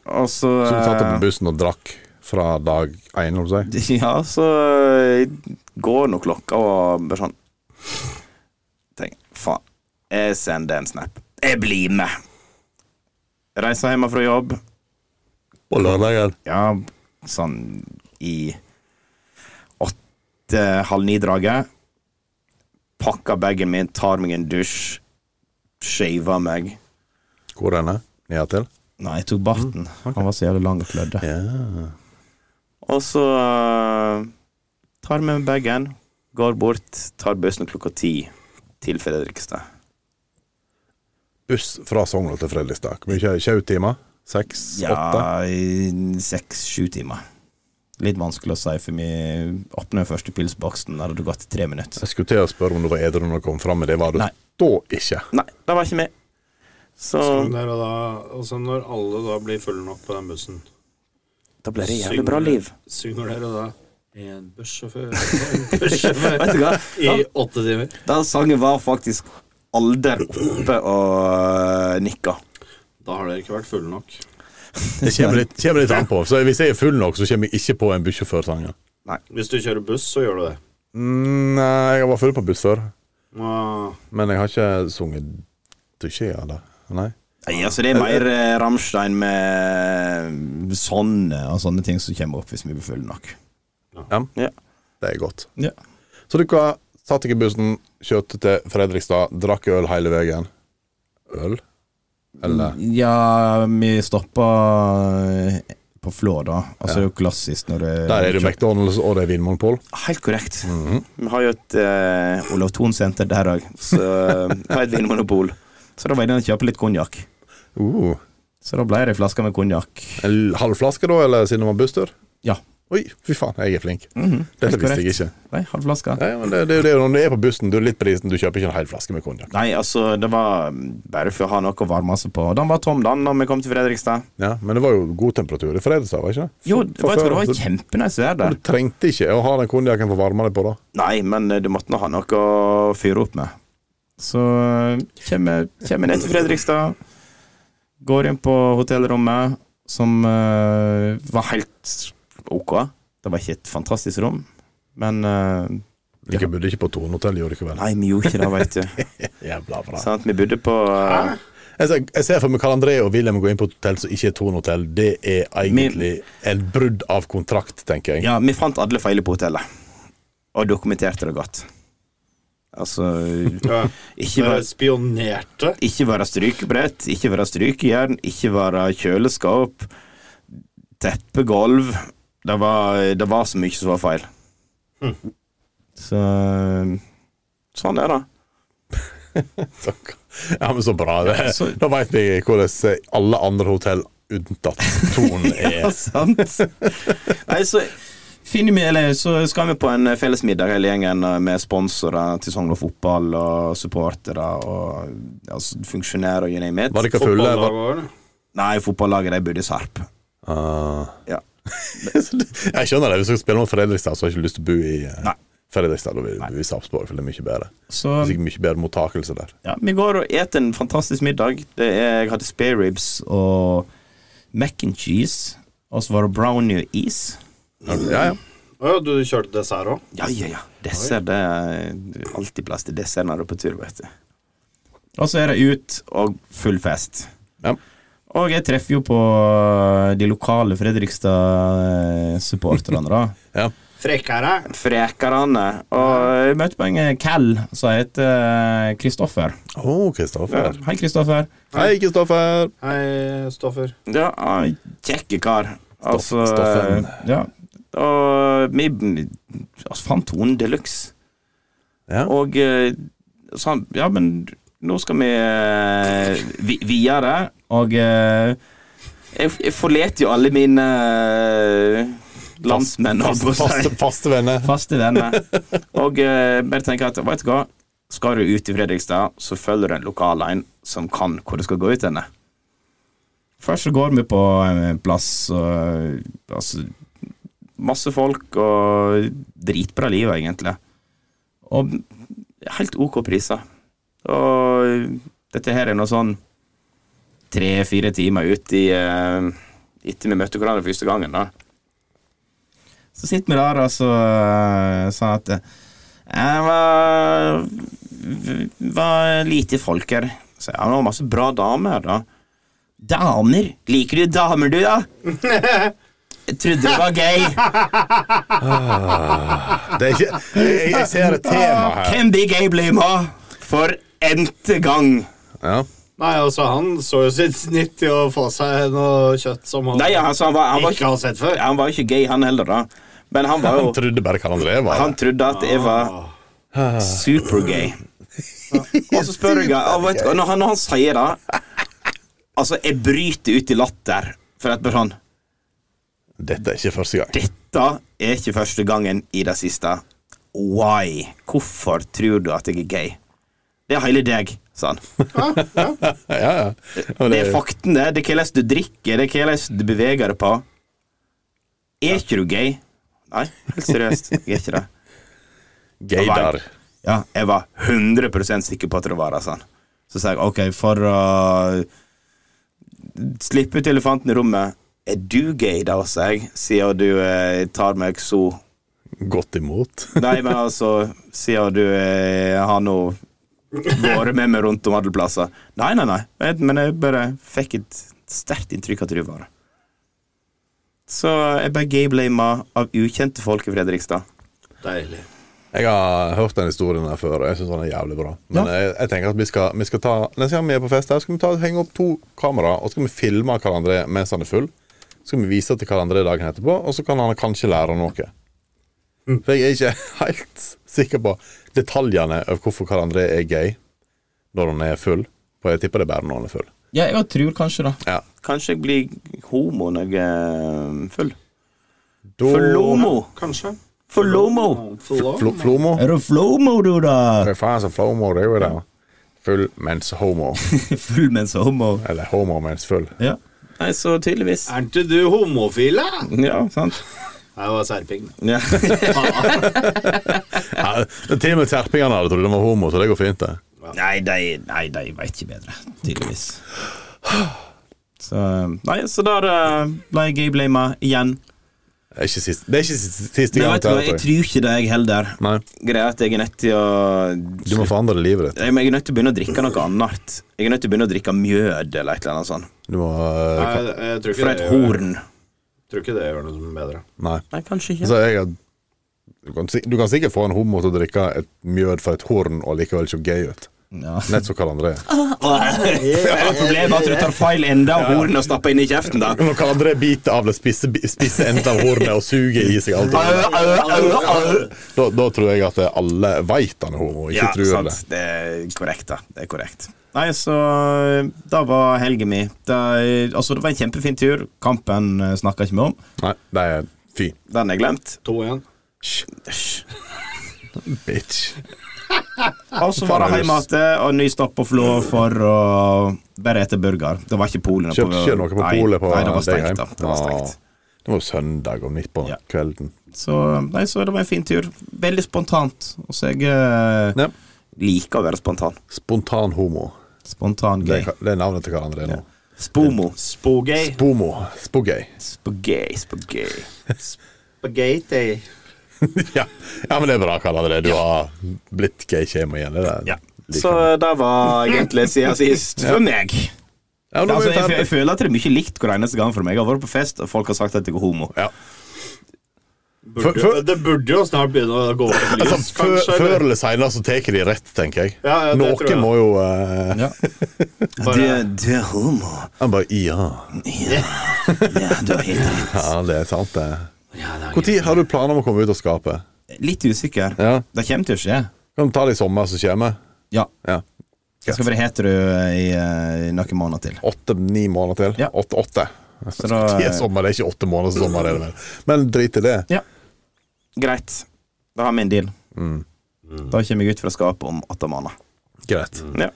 B: Og så
C: Så du satt
B: eh,
C: på bussen og drakk fra dag én, holdt jeg på å si?
B: Ja, så eh, går nå klokka og bare sånn Tenk, faen. Jeg sender en snap. Jeg blir med! Reiser hjemme fra jobb.
C: På lørdagen.
B: Ja, sånn i åtte-halv ni-draget. Pakker bagen min, tar meg en dusj, shaver meg.
C: Hvor er den? Nedtil?
B: Nei, jeg tok barten. Han var så jævlig lang og klødde.
C: Ja.
B: Og så eh, tar vi bagen, går bort, tar bussen klokka ti til Fredrikstad.
C: Buss fra Sogndal til Fredrikstad. Hvor mye er det? 20 timer? Seks? Åtte?
B: Ja, i seks-sju timer. Litt vanskelig å si, for vi åpner første pilsboksen, der hadde det gått tre minutter.
C: Jeg skulle til å spørre om du var edru når du kom fram, men det var du
B: Nei.
C: da ikke.
B: Nei, det var ikke vi. Så
A: Sånn der og da, og så når alle da blir fulle nok på den bussen
B: da ble det
A: synger-
B: jævlig bra liv.
A: Synger dere da En bussjåfør, en bussjåfør
B: Vet du hva?
A: i åtte timer?
B: Den sangen var faktisk alder oppe og eh, nikka.
A: Da har dere ikke vært fulle nok.
C: Det kommer litt, kommer litt an på. Så Hvis jeg er full nok, så kommer jeg ikke på en bussjåførsang.
A: Hvis du kjører buss, så gjør du det.
C: Mm, Nei, jeg var full på buss før,
A: Nå-
C: men jeg har ikke sunget dusje av det. Nei.
B: Nei, altså Det er mer eh, Rammstein med sånne og sånne ting som kommer opp hvis vi blir fulle nok.
C: Ja,
B: Ja.
C: det er godt.
B: Ja.
C: Så dere satt ikke i bussen, kjørte til Fredrikstad, drakk øl hele veien. Øl? Eller
B: Ja, vi stoppa på Flå, da. Altså, det er jo klassisk når det
C: Der er det McDonald's og det er Vinmonopol.
B: Helt korrekt.
C: Mhm.
B: Vi har jo et eh, Olav Thon-senter der òg, så vi har et vinmonopol. Så da var jeg inne og kjøpte litt konjakk.
C: Uh.
B: Så da ble det ei flaske med konjakk.
C: En halv flaske, da, eller siden det var busstur?
B: Ja.
C: Oi, fy faen, jeg er flink.
B: Mhm,
C: Dette visste jeg ikke.
B: Nei, halv flaske.
C: Nei, men det, det, er jo det, når du er på bussen, du er litt på prisen, du kjøper ikke en hel flaske med konjakk.
B: Nei, altså, det var bare for å ha noe å varme seg på. Den var tom, den, når vi kom til Fredrikstad.
C: Ja, men det var jo god temperatur i fredag, var det ikke? det?
B: Jo, det
C: For
B: var, jeg tror det var
C: før, så-
B: kjempenice vær der.
C: Du trengte ikke å ha den konjakken for å varme deg på, da.
B: Nei, men eh, du måtte nå ha noe å fyre opp med. Så eh, kommer jeg ned til Fredrikstad, går inn på hotellrommet, som eh, var helt ok. Det var ikke et fantastisk rom, men eh,
C: Dere bodde ikke på Tornhotell, gjorde dere vel?
B: Nei, vi gjorde ikke det, veit du.
C: Jævla bra.
B: Sant? Vi bodde på eh,
C: Jeg ser, jeg ser for meg Karl André og Wilhelm gå inn på et hotell som ikke er Tornhotell. Det er egentlig et brudd av kontrakt, tenker jeg.
B: Ja, vi fant alle feiler på hotellet, og dokumenterte det godt. Altså
A: Ja.
B: Ikke bare
A: spionerte.
B: Ikke være strykebrett, ikke være strykejern, ikke være kjøleskap, teppegulv. Det var, det var så mye som var feil. Så Sånn er det.
C: Så- Ja, men så bra. Det. Da veit vi hvordan alle andre hotell unntatt Torn er.
B: sant? Nei, så finner vi Eller så skal vi på en felles middag hele gjengen med sponsorer til Sogn og Fotball og supportere og altså, funksjonærer og you name
C: Var
B: it.
C: dere fulle? Var...
A: Fotballaget.
B: Nei, fotballaget de bodde i Sarp.
C: Ah.
B: Ja.
C: Jeg skjønner det. Hvis du skal spille mot Fredrikstad, så har jeg ikke lyst til å bo i eh,
B: Nei.
C: Fredrikstad. Da vil du bo i Sarpsborg, for det er mye bedre.
B: Så
C: Det er sikkert mye bedre mottakelse der.
B: Ja, vi går og eter en fantastisk middag. Det er, jeg hadde spare ribs og mac and cheese. Og så var det brownie og is.
C: Ja, ja.
A: Å ja, du kjørte dessert òg?
B: Ja, ja, ja. Dessert det er alltid plass til dessert når du er på tur, vet du. Og så er det ut og full fest.
C: Ja.
B: Og jeg treffer jo på eh, de lokale Fredrikstad-supporterne, da.
C: ja.
A: Frekkere.
B: Frekarane. Og jeg møtte på en Cal som heter Kristoffer.
C: Å, Kristoffer.
B: Hei, Kristoffer.
C: Hei, Kristoffer.
A: Hei, Stoffer.
B: Ja, han er kjekke kar. Altså
C: Stoffen.
B: Ja. Og vi altså, fant tonen de luxe.
C: Ja.
B: Og eh, så han Ja, men nå skal vi eh, vi- videre, og eh, jeg, jeg forlater jo alle mine eh, landsmenn, holdt på å si.
C: Faste, faste venner.
B: Faste venner. Og eh, bare tenker at, vet du hva, skal du ut i Fredrikstad, så følger du en lokal en som kan hvor du skal gå ut henne. Først så går vi på en plass og altså, Masse folk og dritbra liv, egentlig. Og helt OK priser. Og dette her er noe sånn tre-fire timer ut i eh, Etter vi møtte hverandre første gangen, da. Så sitter vi der og så eh, sa at eh, det var, var lite folk her. Så ja, det var masse bra damer her, da. Damer? Liker du damer, du, da? Jeg trodde det var gay.
C: Det er ikke, jeg, jeg ser et tema her.
B: Hvem blir gay, blir med? For n-te gang.
C: Ja.
A: Nei, altså, han så jo sitt snitt i å få seg noe kjøtt som han
B: Nei, altså, han var, han var,
A: ikke
B: ikke,
A: har sett før.
B: han var ikke gay, han heller, da. Men han var
C: Han
B: jo
C: trodde bare Karl André var
B: Han
C: det.
B: trodde at jeg var supergay. Og så spør jeg og vet, du hva, når, han, når han sier det Altså, jeg bryter ut i latter. For at bare sånn
C: Dette er ikke første gang.
B: Dette er ikke første gangen i det siste. Why? Hvorfor tror du at jeg er gay? Det er hele deg, sa han.
C: Ja, ja. Og
B: Det
C: det,
B: er fakten, det. Det er hvordan du drikker, det er hvordan du beveger deg på. Er ikke du gay? Nei, helt seriøst. Jeg er ikke det.
C: Gaydar.
B: Ja, jeg var 100 sikker på at det var det, sa han. Så sa jeg OK, for å slippe ut elefanten i rommet Er du gay, da, sa jeg, siden du eh, tar meg så
C: Godt imot.
B: Nei, men altså, siden du eh, har nå vært med meg rundt om alle plasser. Nei, nei, nei, men- men jeg bare fikk et sterkt inntrykk av at du var det. Så jeg ble gayblama av ukjente folk i Fredrikstad.
A: Deilig.
C: Jeg har hørt den historien her før, og jeg syns den er jævlig bra. Men jeg, jeg tenker at vi skal, vi skal ta Neste gang vi er på fest her, skal vi ta, henge opp to kamera, og så skal vi filme Karl André mens han er full. Så skal vi vise til Karl André dagen etterpå, og så kan han kanskje lære noe. For jeg er ikke helt sikker på detaljene av hvorfor Karl André er gay når han er full. For jeg tipper det er bare når han er full.
B: Ja, jeg tror kanskje det.
C: Ja.
B: Kanskje jeg blir homo når jeg er eh, full.
C: Da
B: Flomo!
D: Kanskje.
B: Flomo!
C: Flo, Flomo?
B: Er du flomo, du, da?
C: Hva faen så flomo, det er jo det. Full mens homo.
B: Full mens homo.
C: Eller homo mens full.
B: Ja. Nei, så tydeligvis.
A: Er ikke du homofil, da?
B: Ja, sant.
A: Det var serping.
B: Ja.
C: Ja, Eh, til og med terpingene hadde trodd den var homo, så det går fint, det.
B: Nei, de, nei, de veit ikke bedre, tydeligvis. Så Nei, så der eh, ble jeg gayblamet igjen.
C: Det er ikke siste, det er ikke siste, siste
B: Men
C: gang.
B: vet du hva, jeg tror ikke det, jeg heller.
C: Nei,
B: Greia er at jeg er nødt til å
C: du må forandre livet ditt.
B: jeg, jeg er nødt til å begynne å drikke noe annet. Jeg er nødt til å begynne å drikke mjød eller et eller annet sånt.
C: Du må
A: Nei,
C: øh,
A: jeg, jeg tror, ikke det
B: Fra et
A: gjør,
B: horn.
A: tror ikke det gjør noe som er bedre.
C: Nei.
B: Nei, kanskje ikke.
C: Altså, jeg, har- du, kan, sik- du kan sikkert få en homo til å drikke et mjød fra et horn og likevel se gøy ut.
B: Ja.
C: Nett som Karl André.
B: Problemet er at du tar feil ende av hornet og stapper inn i kjeften, da.
C: Når Karl André biter av det spisse, spisse enden av hornet og suger i seg alt da, da tror jeg at alle veit han er homo, ikke tror
B: sant.
C: det.
B: Det er korrekt, da. Det er korrekt. Nei, så eh, da var helgen min. Da, altså, det var en kjempefin tur. Kampen eh, snakka ikke vi om.
C: Nei, det er fy.
B: Den er glemt.
A: 2-1.
C: Bitch.
B: Og så var det hjemme igjen og ny stopp på Flå for å bare ete burger. Det var ikke Polen
C: Kjøpte ikke noe på polet på Ah.
B: Nei, det var
C: den
B: stengt, da.
C: gangen.
B: Det var stengt.
C: Ja. Det var jo søndag om midt på
B: Ja.
C: kvelden.
B: Så, nei, så det var en fin tur. Veldig spontant. Og så jeg eh,
C: Ja.
B: liker å være spontan.
C: Spontan homo.
B: Spontan
C: Det
B: gay.
C: er, det er navnet til Karl André nå.
B: Spomo.
A: Spogay.
C: Spomo. Spogøy.
B: Spogay, spogay.
A: Spaghetti.
C: ja. ja, men det er bra, Karl André. Du har blitt gay kjemo igjen. Det der.
B: Ja.
C: Liker
B: Så eh,
C: meg.
B: det var egentlig siden sist for meg.
C: ja, nå er
B: Altså,
C: vi
B: jeg, jeg
C: ferdig.
B: føler at det er mye likt hver eneste gang for meg. Jeg har vært på fest, og folk har sagt at jeg er homo.
C: Ja.
A: Burde,
C: Før- før-
A: det burde jo snart begynne å gå over til lys,
C: Altså, før,
A: kanskje.
C: før
A: eller?
C: eller seinere så tar de rett, tenker jeg.
A: Ja, ja, det tror jeg.
C: Noen må jo eh,
B: Du, du er homo.
C: Han bare Ja,
B: Ja, ja du har helt rett.
C: ja det er sant, det. Når har du planer om å komme ut av skapet?
B: Litt usikker.
C: Ja.
B: Det kommer til å skje.
C: Kan du ta det i sommer, så kommer
B: Ja.
C: Ja.
B: Jeg skal være hetero i, eh, i noen måneder til.
C: Åtte-ni måneder til.
B: Ja.
C: Åtte-åtte.
B: Så eh, da-
C: Det er sommer, det er ikke åtte måneder som sommer, det er det vel. Men drit i det.
B: Ja. eh, Greit. Da har vi en deal.
C: Mm.
B: Da kommer jeg ut fra skapet om åtte måneder.
C: Greit.
B: Ja.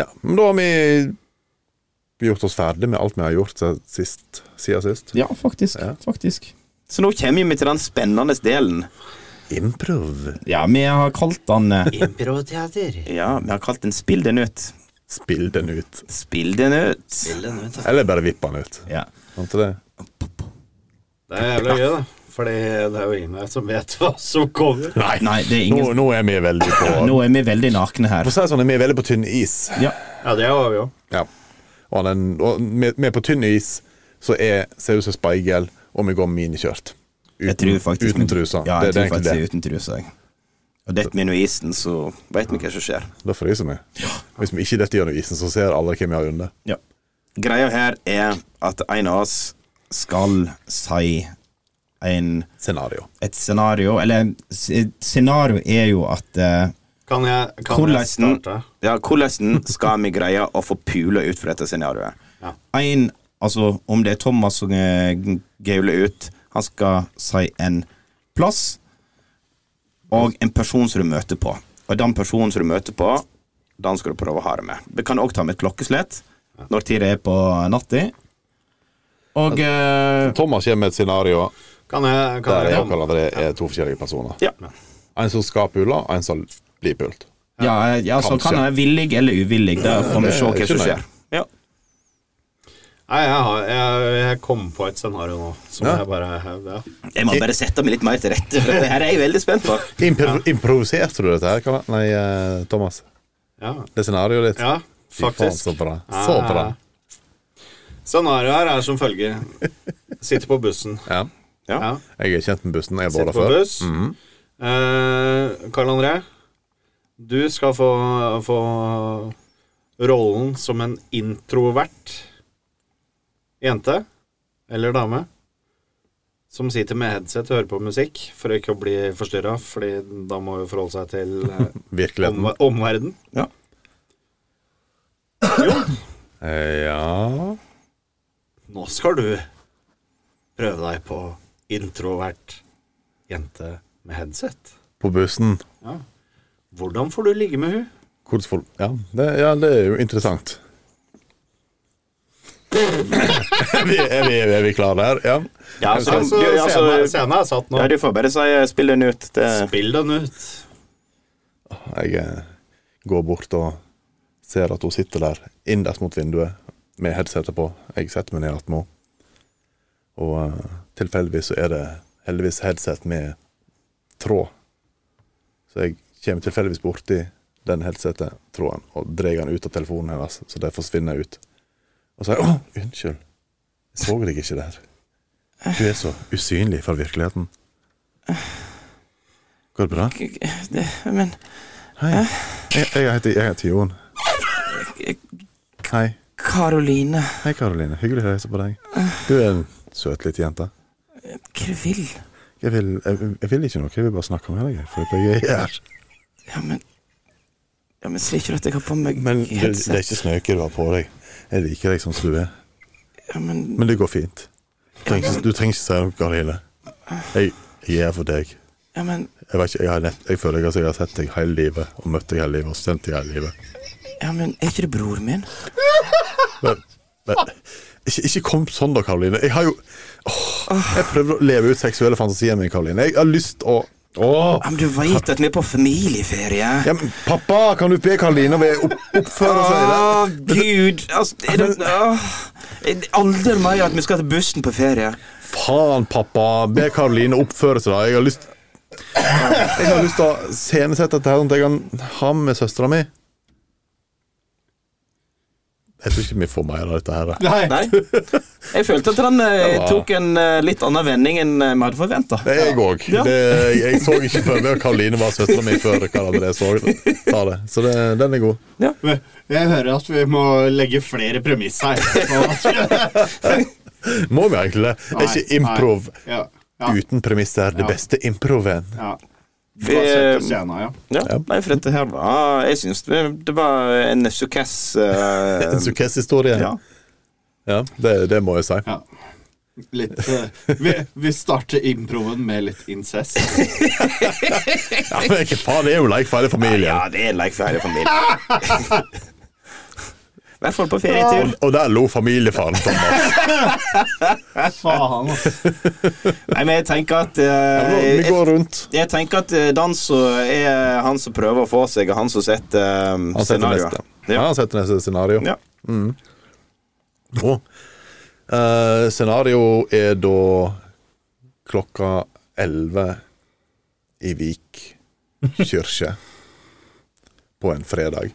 C: Ja, men da har vi gjort oss ferdig med alt vi har gjort siden sist. Siden sist.
B: ja, faktisk.
C: Ja.
B: Faktisk. Så nå kommer vi til den spennende delen.
C: Improv.
B: Ja, vi har kalt den eh,
A: Improteater.
B: Ja, vi har kalt den Spill den ut.
C: Spill den ut.
B: Spill den ut.
C: Eller bare vipp den ut.
B: Ja.
C: Sant det?
A: Det er jævlig gøy, da. Fordi det er jo ingen her som vet hva som kommer.
C: Nei,
B: Nei, det er
C: Nå,
B: ingen
C: nå er vi veldig på
B: Nå er vi veldig nakne her.
C: For å si det sånn, vi er veldig på tynn is.
B: Ja.
A: Ja, det var vi òg.
C: Ja. Og, den, og vi vi er på tynn is, så er ser ut som speil, og vi går miniskjørt.
B: Jeg tror faktisk
C: uten trusa.
B: Ja, jeg
C: det, det
B: tror
C: er
B: faktisk
C: egentlig
B: det
C: det.
B: er uten trusa. Jeg. Og detter vi nå i isen, så veit vi hva som skjer.
C: Da fryser vi. Hvis vi ikke detter gjennom isen, så ser alle hvem vi har under.
B: Ja. Greia her er at en av oss skal si en,
C: Scenario.
B: et scenario Eller en s- et scenario er jo at eh,
A: Kan jeg, kan jeg
B: hvordan,
A: starte?
B: ja, hvordan skal vi greie å få pula ut fra dette scenarioet?
A: Ja.
B: En, altså, om det er Thomas som eh, g- gauler ut, han skal si en plass og en person som du møter på. Og den personen som du møter på, den skal du prøve å ha det med. Du kan òg ta med et klokkeslett når tid det er på natta. Og eh,
C: Thomas kommer med et scenario
A: Kan jeg, kan
C: der jeg
A: jeg
C: og Karl André er to forskjellige personer.
B: ja.
C: En som skal pule, og en som blir pult.
B: Ja, eh, ja, så
C: Kanskje.
B: kan han være villig eller uvillig. Da får vi
C: det
B: se
C: er
B: hva
C: ikke
B: som
C: nøye.
B: skjer. Ja.
A: Nei, jeg, har- jeg, jeg kom på et scenario nå som
C: Ja.
A: jeg bare ja.
B: Jeg må bare sette meg litt mer til rette, for dette her er jeg veldig spent på.
C: Impro Improviserte du dette her, Karl? Nei, eh, Thomas?
A: ja.
C: Det er scenarioet ditt?
A: ja
C: Fy faen,
A: faktisk. Ah.
C: så bra. Så bra.
A: Scenarioet her er som følger. Sitter på bussen.
C: Ja.
B: Ja.
A: Ja.
C: Jeg er kjent med bussen. Jeg har
A: Sitter
C: vært der
A: på
C: før.
A: buss. eh, Karl André, du skal få, få rollen som en introvert jente eller dame som sitter med headset og hører på musikk for ikke å bli forstyrra, Fordi da må hun forholde seg til eh,
C: Virkeligheten.
A: omver- omverdenen.
B: Ja.
C: Eh, Ja Eh,
A: Nå skal du prøve deg på introvert jente med headset.
C: På bussen.
A: Hvordan får du ligge med hun?
C: Hvordan folk ja det, ja, det er jo interessant. er, vi, er, vi, er vi klare der? Ja.
B: Ja, altså,
A: Altså,
B: ja,
A: scenen
B: altså,
A: scenen er satt nå.
B: ja, du får bare si eh, 'spill den ut'. Det,
A: Spill den ut.
C: Jeg eh, går bort og ser at hun sitter der innerst mot vinduet med headsetet på. Jeg setter meg ned attmed henne. Og eh, tilfeldigvis så er det heldigvis headset med tråd. Så jeg kommer tilfeldigvis borti den headsetet-tråden og drar den ut av telefonen hennes, så det forsvinner ut. Og så sier jeg 'Å, unnskyld. Jeg så deg ikke der. Du er så usynlig fra virkeligheten'. Går det bra?
B: det, men
C: Hei. Jeg, jeg, heter, jeg heter Jon. Hei.
B: Karoline,
C: Hei, Karoline. Hyggelig å hilse på deg. Du er en søt liten jente.
B: hva du vil
C: Jeg vil, jeg, jeg vil ikke noe, jeg vil bare snakke med deg. For jeg er her.
B: Ja, men Ja, men Ser ikke du at jeg har på meg
C: Men det,
B: headset?
C: det er ikke snøket du har på deg. Jeg liker deg som du er.
B: Ja, men,
C: Men det går fint. Du trenger ikke, du trenger ikke si noe, Karoline. Jeg, jeg er her for deg.
B: ja, men,
C: Jeg, vet ikke, jeg, har nett, jeg føler jeg, altså, jeg har sett deg hele livet, og møtt deg hele livet, og kjent deg hele livet.
B: ja, men Er ikke det bror min?
C: Men, men ikke, ikke kom sånn da, Karoline. Jeg har jo åh, Jeg prøvde å leve ut seksuelle fantasier mine, Karoline. Jeg har lyst å
B: Ja,
C: åh.
B: men Du veit at vi er på familieferie?
C: Ja, men pappa, kan du be Karoline om å opp, oppføre seg?
B: Å,
C: i det?
B: gud! Altså, er det, åh, er det aldri mer at vi skal til bussen på ferie.
C: Faen, pappa. Be Karoline oppføre seg, da. Jeg har lyst Jeg har lyst til å scenesette dette her, sånn at jeg kan ha med søstera mi. Jeg tror ikke vi får mer av dette her. da.
B: Nei. Jeg følte at han eh, tok en eh, litt annen vending enn eh, vi hadde forventa.
C: Det er jeg òg.
B: Ja.
C: Jeg, jeg så ikke før meg at Karoline var søstera mi før Karl André så det. sa det. Så det, den er god.
F: Jeg hører at vi må legge flere premiss her.
C: Må vi egentlig det? Er ikke improv
F: Ja. Ja.
C: uten premisser det beste improven?
F: ja.
B: Vi,
F: Bare sette
B: eh,
F: scenen, ja.
B: Ja, Nei, for dette her var Jeg syns det, det var en sukkess eh,
C: En sukkesshistorie?
B: ja.
C: Ja, det, det må jeg si.
F: ja. Litt, eh, vi, vi starter improven med litt incest.
C: Ja, men hva faen, det er jo lekefeil i
B: ja,
C: familien.
B: det er en lekferdig familie. I hvert fall på ferietur.
C: Og der lo familiefaren. Thomas.
F: Faen, ass.
B: Nei, men jeg tenker at eh,
C: Vi
B: jeg,
C: går rundt.
B: jeg tenker at eh, Dan som er han som prøver å få seg, og han som setter um,
C: Han setter
B: scenarioet.
C: neste. Ja, han setter neste scenario.
B: Ja.
C: Å. Eh, scenario er da klokka 11 i Vik kirke på en fredag.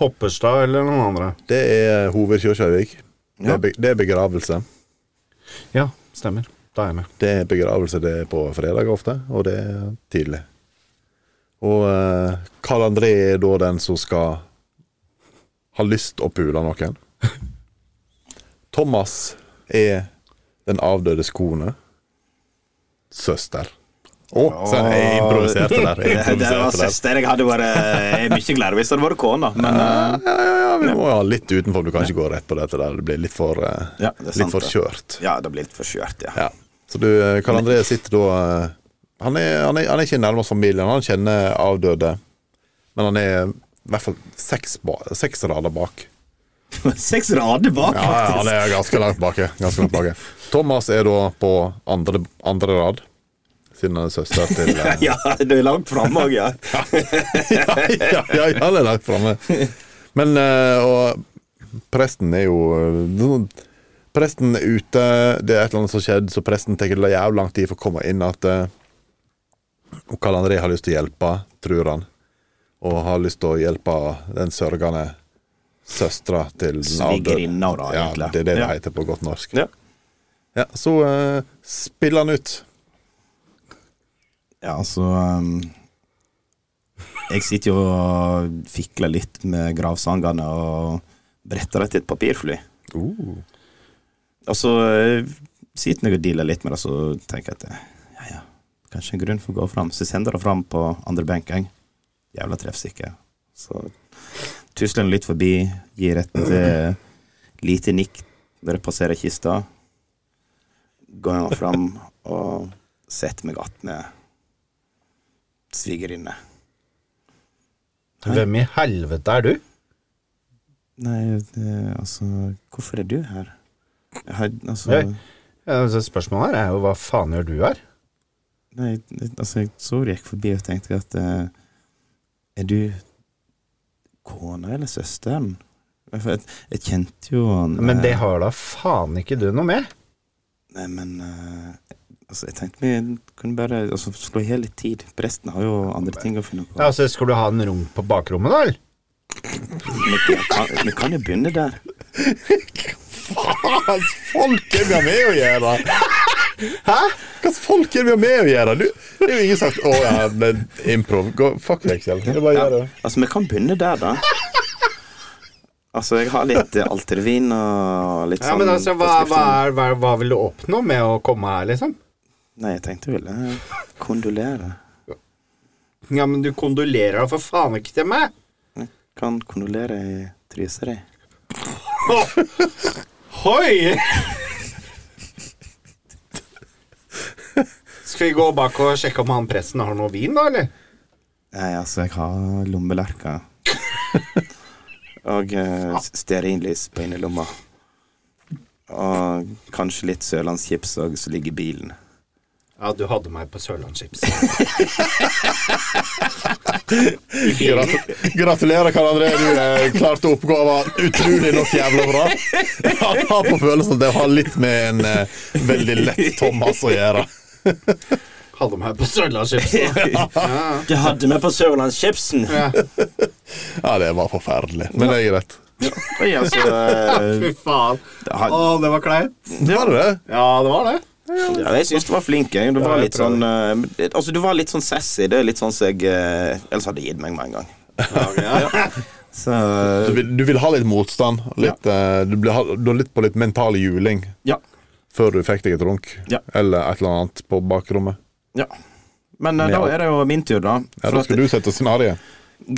A: Hopperstad eller noen andre.
C: Det er hovedkirka i Vik. Det, er be det er begravelse.
A: Ja, stemmer. Da er jeg med.
C: Det er begravelse det er på fredag ofte, og det er tidlig. Og eh, Karl André er da den som skal ha lyst å pule noen. Thomas er den avdøde kone. Søster. Å, se, jeg improviserte der.
B: Det,
C: Jeg
B: det var
C: improviserte der.
B: søster jeg hadde vært eh, Jeg er mye gladere hvis det hadde vært kona, men eh,
C: Ja, ja, ja, vi må ha litt utenfor. Du kan ikke gå rett på dette der. Det blir litt for, eh,
B: Ja, det er sant,
C: litt for
B: det.
C: kjørt.
B: ja, det blir litt for skjørt, ja.
C: Ja. Så du, eh, Karl André sitter da eh, han er, han, er, han er ikke nærmest familien, han kjenner avdøde. Men han er i hvert fall seks, ba- seks rader bak.
B: Seks rader bak,
C: Ja, ja, han
B: faktisk.
C: er ganske langt bak. Ganske langt bak. Thomas er da på andre, andre rad, siden han er søster til eh,
B: Ja, du er langt framme òg, ja.
C: ja, ja, ja, ja, det er langt framme. Men eh, Og presten er jo eh, sånn- Presten er ute, det er et eller annet som har skjedd, så presten tar det jævlig lang tid for å komme inn at eh, Og Karl André har lyst til å hjelpe, tror han. Og har lyst til å hjelpe den sørgende søstera til den avdøde.
B: Svigerinna, da,
C: Ja,
B: egentlig.
C: det er det det
B: Ja.
C: heter på godt norsk.
B: Ja.
C: Ja, så eh, spiller han ut.
B: Ja, altså um, Jeg sitter jo og fikler litt med gravsangene og bretter det til et papirfly. Og så eh, sitter jeg og dealer litt med det, så tenker jeg at eh, ja, ja, kanskje en grunn for å gå fram. Så jeg sender det fram på andre benk, jeg. Jævla treffsikker. Så tusler den litt forbi, gir et eh, lite nikk når jeg passerer kista. går han fram og setter meg attmed svigerinne.
A: Hvem i helvete er du?
B: Nei, det, altså Hvorfor er du her? Jeg har, altså
A: Hei. Ja, altså, spørsmålet her er jo hva faen gjør du her?
B: Nei, det- altså, jeg så du gikk forbi og tenkte at eh, Er du kona eller søsteren? For jeg, jeg kjente jo han
A: Men
B: eh,
A: det har da faen ikke du noe med.
B: Nei, men eh, altså, jeg tenkte vi kunne bare altså, slå i hjel litt tid. Presten har jo andre ting å finne på.
A: Ja, altså, Skal du ha en rom på bakrommet, da? eller?
B: Vi kan, vi kan jo begynne der.
C: Hva slags folk er vi har med å gjøre? Hæ? Hva slags folk er vi har med å gjøre? Du, det er jo ingen sagt 'Å ja, men improv'. Gå, fuck deg selv. Det er bare å gjøre det.
B: Altså, vi kan begynne der, da. Altså, jeg har litt eh, altervin og litt
A: Ja,
B: sånn
A: men altså, hva, hva,
B: forskrift.
A: er, hva, hva vil du oppnå med å komme her, liksom?
B: Nei, jeg tenkte jeg ville eh, kondolere.
A: Ja, men du kondolerer da for faen ikke til meg!
B: Kan kondolere i tryset ditt.
A: Hoi! Skal vi gå bak og sjekke om han presten har noe vin, da, eller?
B: Nei, altså, jeg har lommelerker. Og eh, s- stearinlys på innerlomma. Og kanskje litt sørlandschips òg, som ligger i bilen.
A: Ja, du hadde meg på Sørlandschips.
C: Grat- Gratulerer, Karl André. Du eh, klarte oppgaven utrolig nok jævla bra. Jeg har på følelsen at det har litt med en eh, veldig lett Thomas å gjøre.
A: Hadde meg på Sørlandschips.
B: Du hadde meg på sørlandschipsen!
A: Ja.
C: Ja, det var forferdelig, men det er greit.
B: Oi, altså eh,
A: Fy faen.
B: det
A: Å,
B: har-
A: det var kleint.
C: Var det det?
A: Ja, det var det.
B: Ja, jeg syns du var flink. Jeg. Du, var
A: jeg
B: litt sånn, eh, altså, du var litt sånn sassy. Det er litt sånn som jeg eh, Ellers hadde jeg gitt meg med en gang. Så
C: Du vil, du vil ha litt motstand. Litt, eh, du, ble, ha- du er litt på litt mental juling
B: ja.
C: før du fikk deg et runk
B: Ja.
C: eller et eller annet på bakrommet.
B: ja. Men eh, da er det jo min tur, da.
C: Ja,
B: For
C: Da
B: at,
C: skal du sette scenarioet.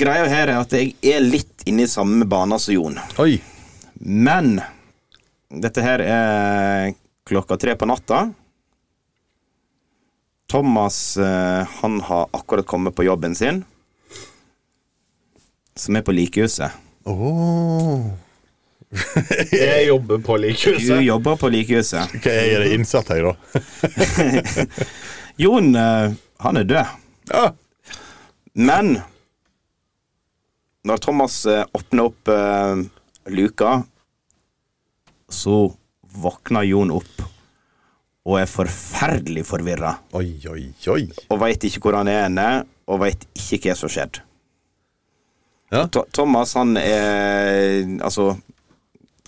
B: greia her er at jeg er litt inne i samme bane som Jon.
C: Oi.
B: Men dette her er klokka tre på natta. Thomas eh, han har akkurat kommet på jobben sin, som er på likehuset.
C: Oh.
A: Jeg jobber på
B: Du
A: likhuset.
B: jobber på likehuset.
C: Ok, jeg er innsatt her, da.
B: Jon, eh, han er død.
C: Ja.
B: Men når Thomas eh, åpner opp eh, luka, så våkner Jon opp og er forferdelig forvirra.
C: Oi, oi, oi.
B: Og veit ikke hvor han er henne, og veit ikke hva som skjedde.
C: Ja.
B: Tho- Thomas, han er Altså,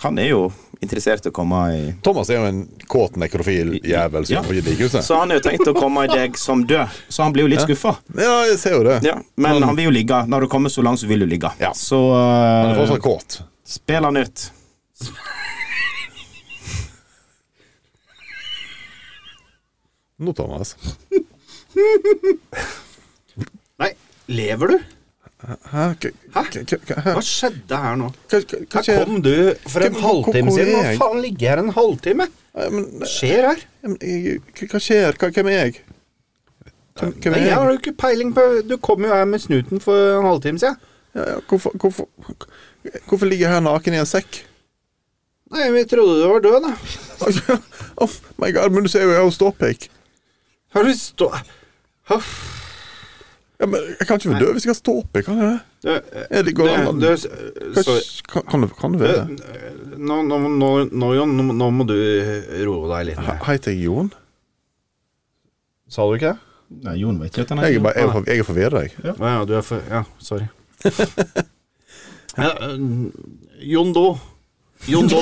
B: han er jo interessert i å komme i
C: Thomas er jo en kåt nekrofil jævel som
B: Ja.
C: ja. på likehuset.
B: Så han er jo tenkt å komme i deg som død, så han blir jo litt skuffa.
C: Ja, jeg ser jo det.
B: Ja, men han vil jo ligge. Når du kommer så langt, så vil du ligge.
C: Ja.
B: Så
C: Han er
B: uh,
C: fortsatt kåt.
B: spill han ut.
C: Nå, Thomas.
A: Nei, lever du?
C: Hæ? K- k- k- k- hæ?
A: Hva skjedde her nå?
C: K- k-
A: Her
C: kanskje-
A: kom du for en
C: Hvor- hvor-
A: halvtime
C: hvor er
A: siden. Hva
C: jeg?
A: faen ligger jeg her en halvtime?
C: Nei, men-
A: Hva skjer her?
C: men jeg- k- Hva skjer? Hva- Hvem er jeg? Hvem, hvem er
A: Nei, jeg har jo ikke peiling på Du kom jo her med snuten for en halvtime siden.
C: Ja, ja, hvorfor, hvorfor, hvorfor ligger jeg her naken i en sekk?
A: Nei, vi trodde du var død, da.
C: oh my god, men du ser jo jeg har jo ståpikk.
A: Har du stå... Huff.
C: Ja, men jeg kan ikke være død hvis jeg har ståpikk, kan jeg det?
A: Du, eh,
C: Ja, det går an.
A: du,
C: Kan-
A: sorry.
C: Kan, kan, du- kan du være det?
A: Nå, nå, nå, nå, Jon, nå, nå må du roe deg litt ned.
C: Heter jeg Jon?
A: Sa du ikke det?
B: Nei, Jon vet ikke at han
C: Jeg er, bare, jeg er, for- jeg er forvirra, jeg.
A: Ja, ja, du er for... Ja, sorry. ja, eh, Jon Do. Jon Do.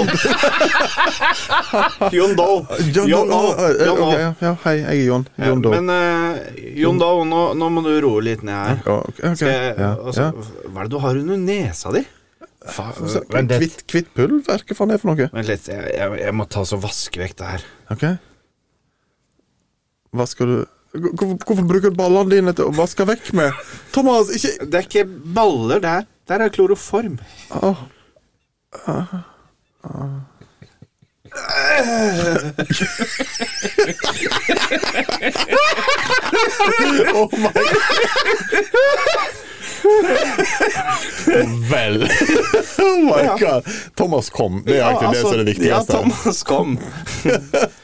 A: Jon Do.
C: Jon,
A: Jon Do. Jon
C: Jon,
A: Do.
C: eh, ok, ja, ja, hei, jeg er Jon.
A: Ja,
C: Jon Dahl.
A: Men eh, Jon Do, nå, nå må du roe litt ned her.
C: Ja, ok, ok.
A: Skal jeg,
C: ja,
A: altså,
C: ja.
A: Hva er det du har under nesa di?
C: Faen, så-
A: men altså, det-
C: Kvitt, kvitt pulver? Hva faen er det for noe?
A: Vent litt, jeg, jeg, jeg må ta så vaske vekk det her.
C: Ok Hva skal du Hvorfor, hvorfor bruker du ballene dine til å vaske vekk med? Thomas, ikke
A: Det er ikke baller der. Der er kloroform.
C: Åh. Vel! oh my god. Thomas kom. Det er egentlig det som er det
B: ja,
C: viktigste.
B: Thomas kom.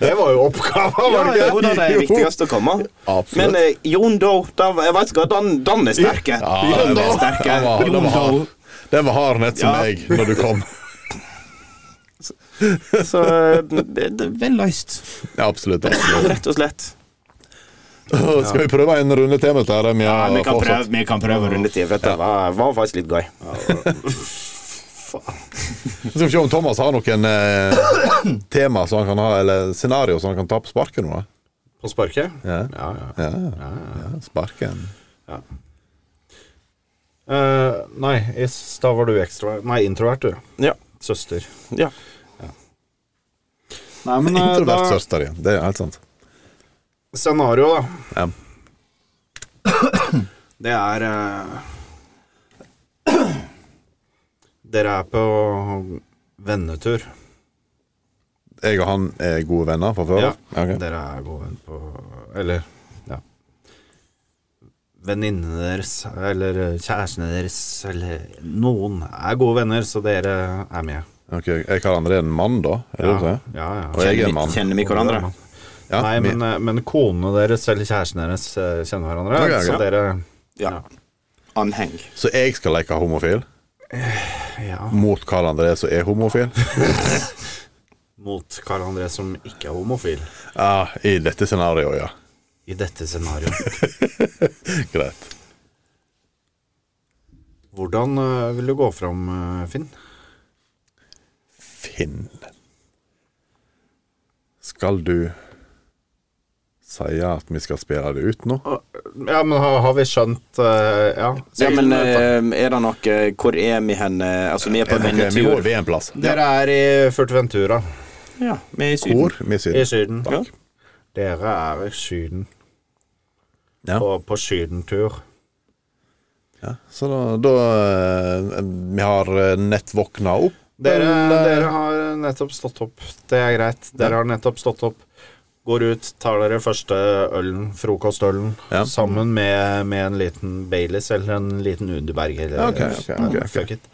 A: Det var jo oppgaven,
B: Ja,
A: var det
B: ja,
A: ikke?
B: jo da, det er viktigst å komme.
C: Absolutt.
B: Men eh, Jon Doe, da- jeg vet ikke, den, den er sterke.
C: Ja,
B: den
C: den
B: er
C: var-
B: sterke.
C: den var- den var hard. Den var hard nett som
B: Ja.
C: jeg når du kom.
B: Så eh, det, det er vel løst,
C: Ja, absolutt. absolutt.
B: rett og slett.
C: Åh, Skal vi prøve en runde til med dette? her, om jeg
B: Ja, vi, kan
C: fortsatt-
B: prøve, vi kan prøve runde til. Vet du, det var, var faktisk litt gøy.
C: Så Skal vi se om Thomas har noen eh, tema som han kan ha, eller scenario som han kan ta på sparket nå. da.
A: På sparket?
C: Ja.
A: ja, ja.
C: Ja, ja sparken.
A: Eh, nei, Is, da var du ekstra Nei, introvert, du.
B: Ja.
A: Søster.
B: ja.
A: Nei, men eh,
C: Introvert
A: da
C: søster igjen. Det er helt sant.
A: Scenario, da.
C: Ja.
A: Det er eh, Dere er på vennetur.
C: Jeg og han er gode venner fra før.
A: Ja.
C: Ok.
A: Dere er gode venner på Eller, ja. Venninnene deres eller eh, kjærestene deres eller noen er gode venner, så dere er med.
C: Ok, Jeg kaller André en mann, da? Er det det du
A: Ja,
C: sier?
A: ja,
C: Og
A: ja.
C: jeg er en mann.
B: Kjenner vi hverandre?
C: Ja,
A: Nei,
C: vi-
A: men, eh, men konene deres eller kjæresten deres eh, kjenner hverandre.
C: Ok, ok.
A: Så dere
B: Ja. Anheng.
C: Så jeg skal leke homofil
A: ja,
C: mot Karl André, som er homofil?
A: mot Karl André som ikke er homofil,
C: Ja, I dette scenarioet, ja.
A: i dette scenarioet.
C: Greit.
A: Hvordan eh, vil du gå fram, eh, Finn?
C: Finn. Skal du si at vi skal spille det ut nå?
A: Ja, men har, har vi skjønt eh, Ja,
B: Ja, men eh, er det noe Hvor er vi hen? eh, Altså, vi er på
C: Ok, vi må
B: vennetur.
C: ved en plass.
A: Dere er i Furtventura
B: Ja, vi er i Syden.
C: Hvor? Vi
A: i
C: sier
A: Syden.
B: Ja.
A: Dere er i Syden.
C: Ja.
A: På, på sydentur.
C: ja. Så da, da eh, Vi har eh, nett våkna opp.
A: Dere,
C: Eller-
A: dere har nettopp stått opp. Det er greit. Dere har nettopp stått opp. Går ut, tar dere første ølen, frokostølen,
C: Ja.
A: sammen med, med en liten Baileys eller en liten Underberger. Eller,
C: Ok, ok, ok, ok.
A: Fuck it.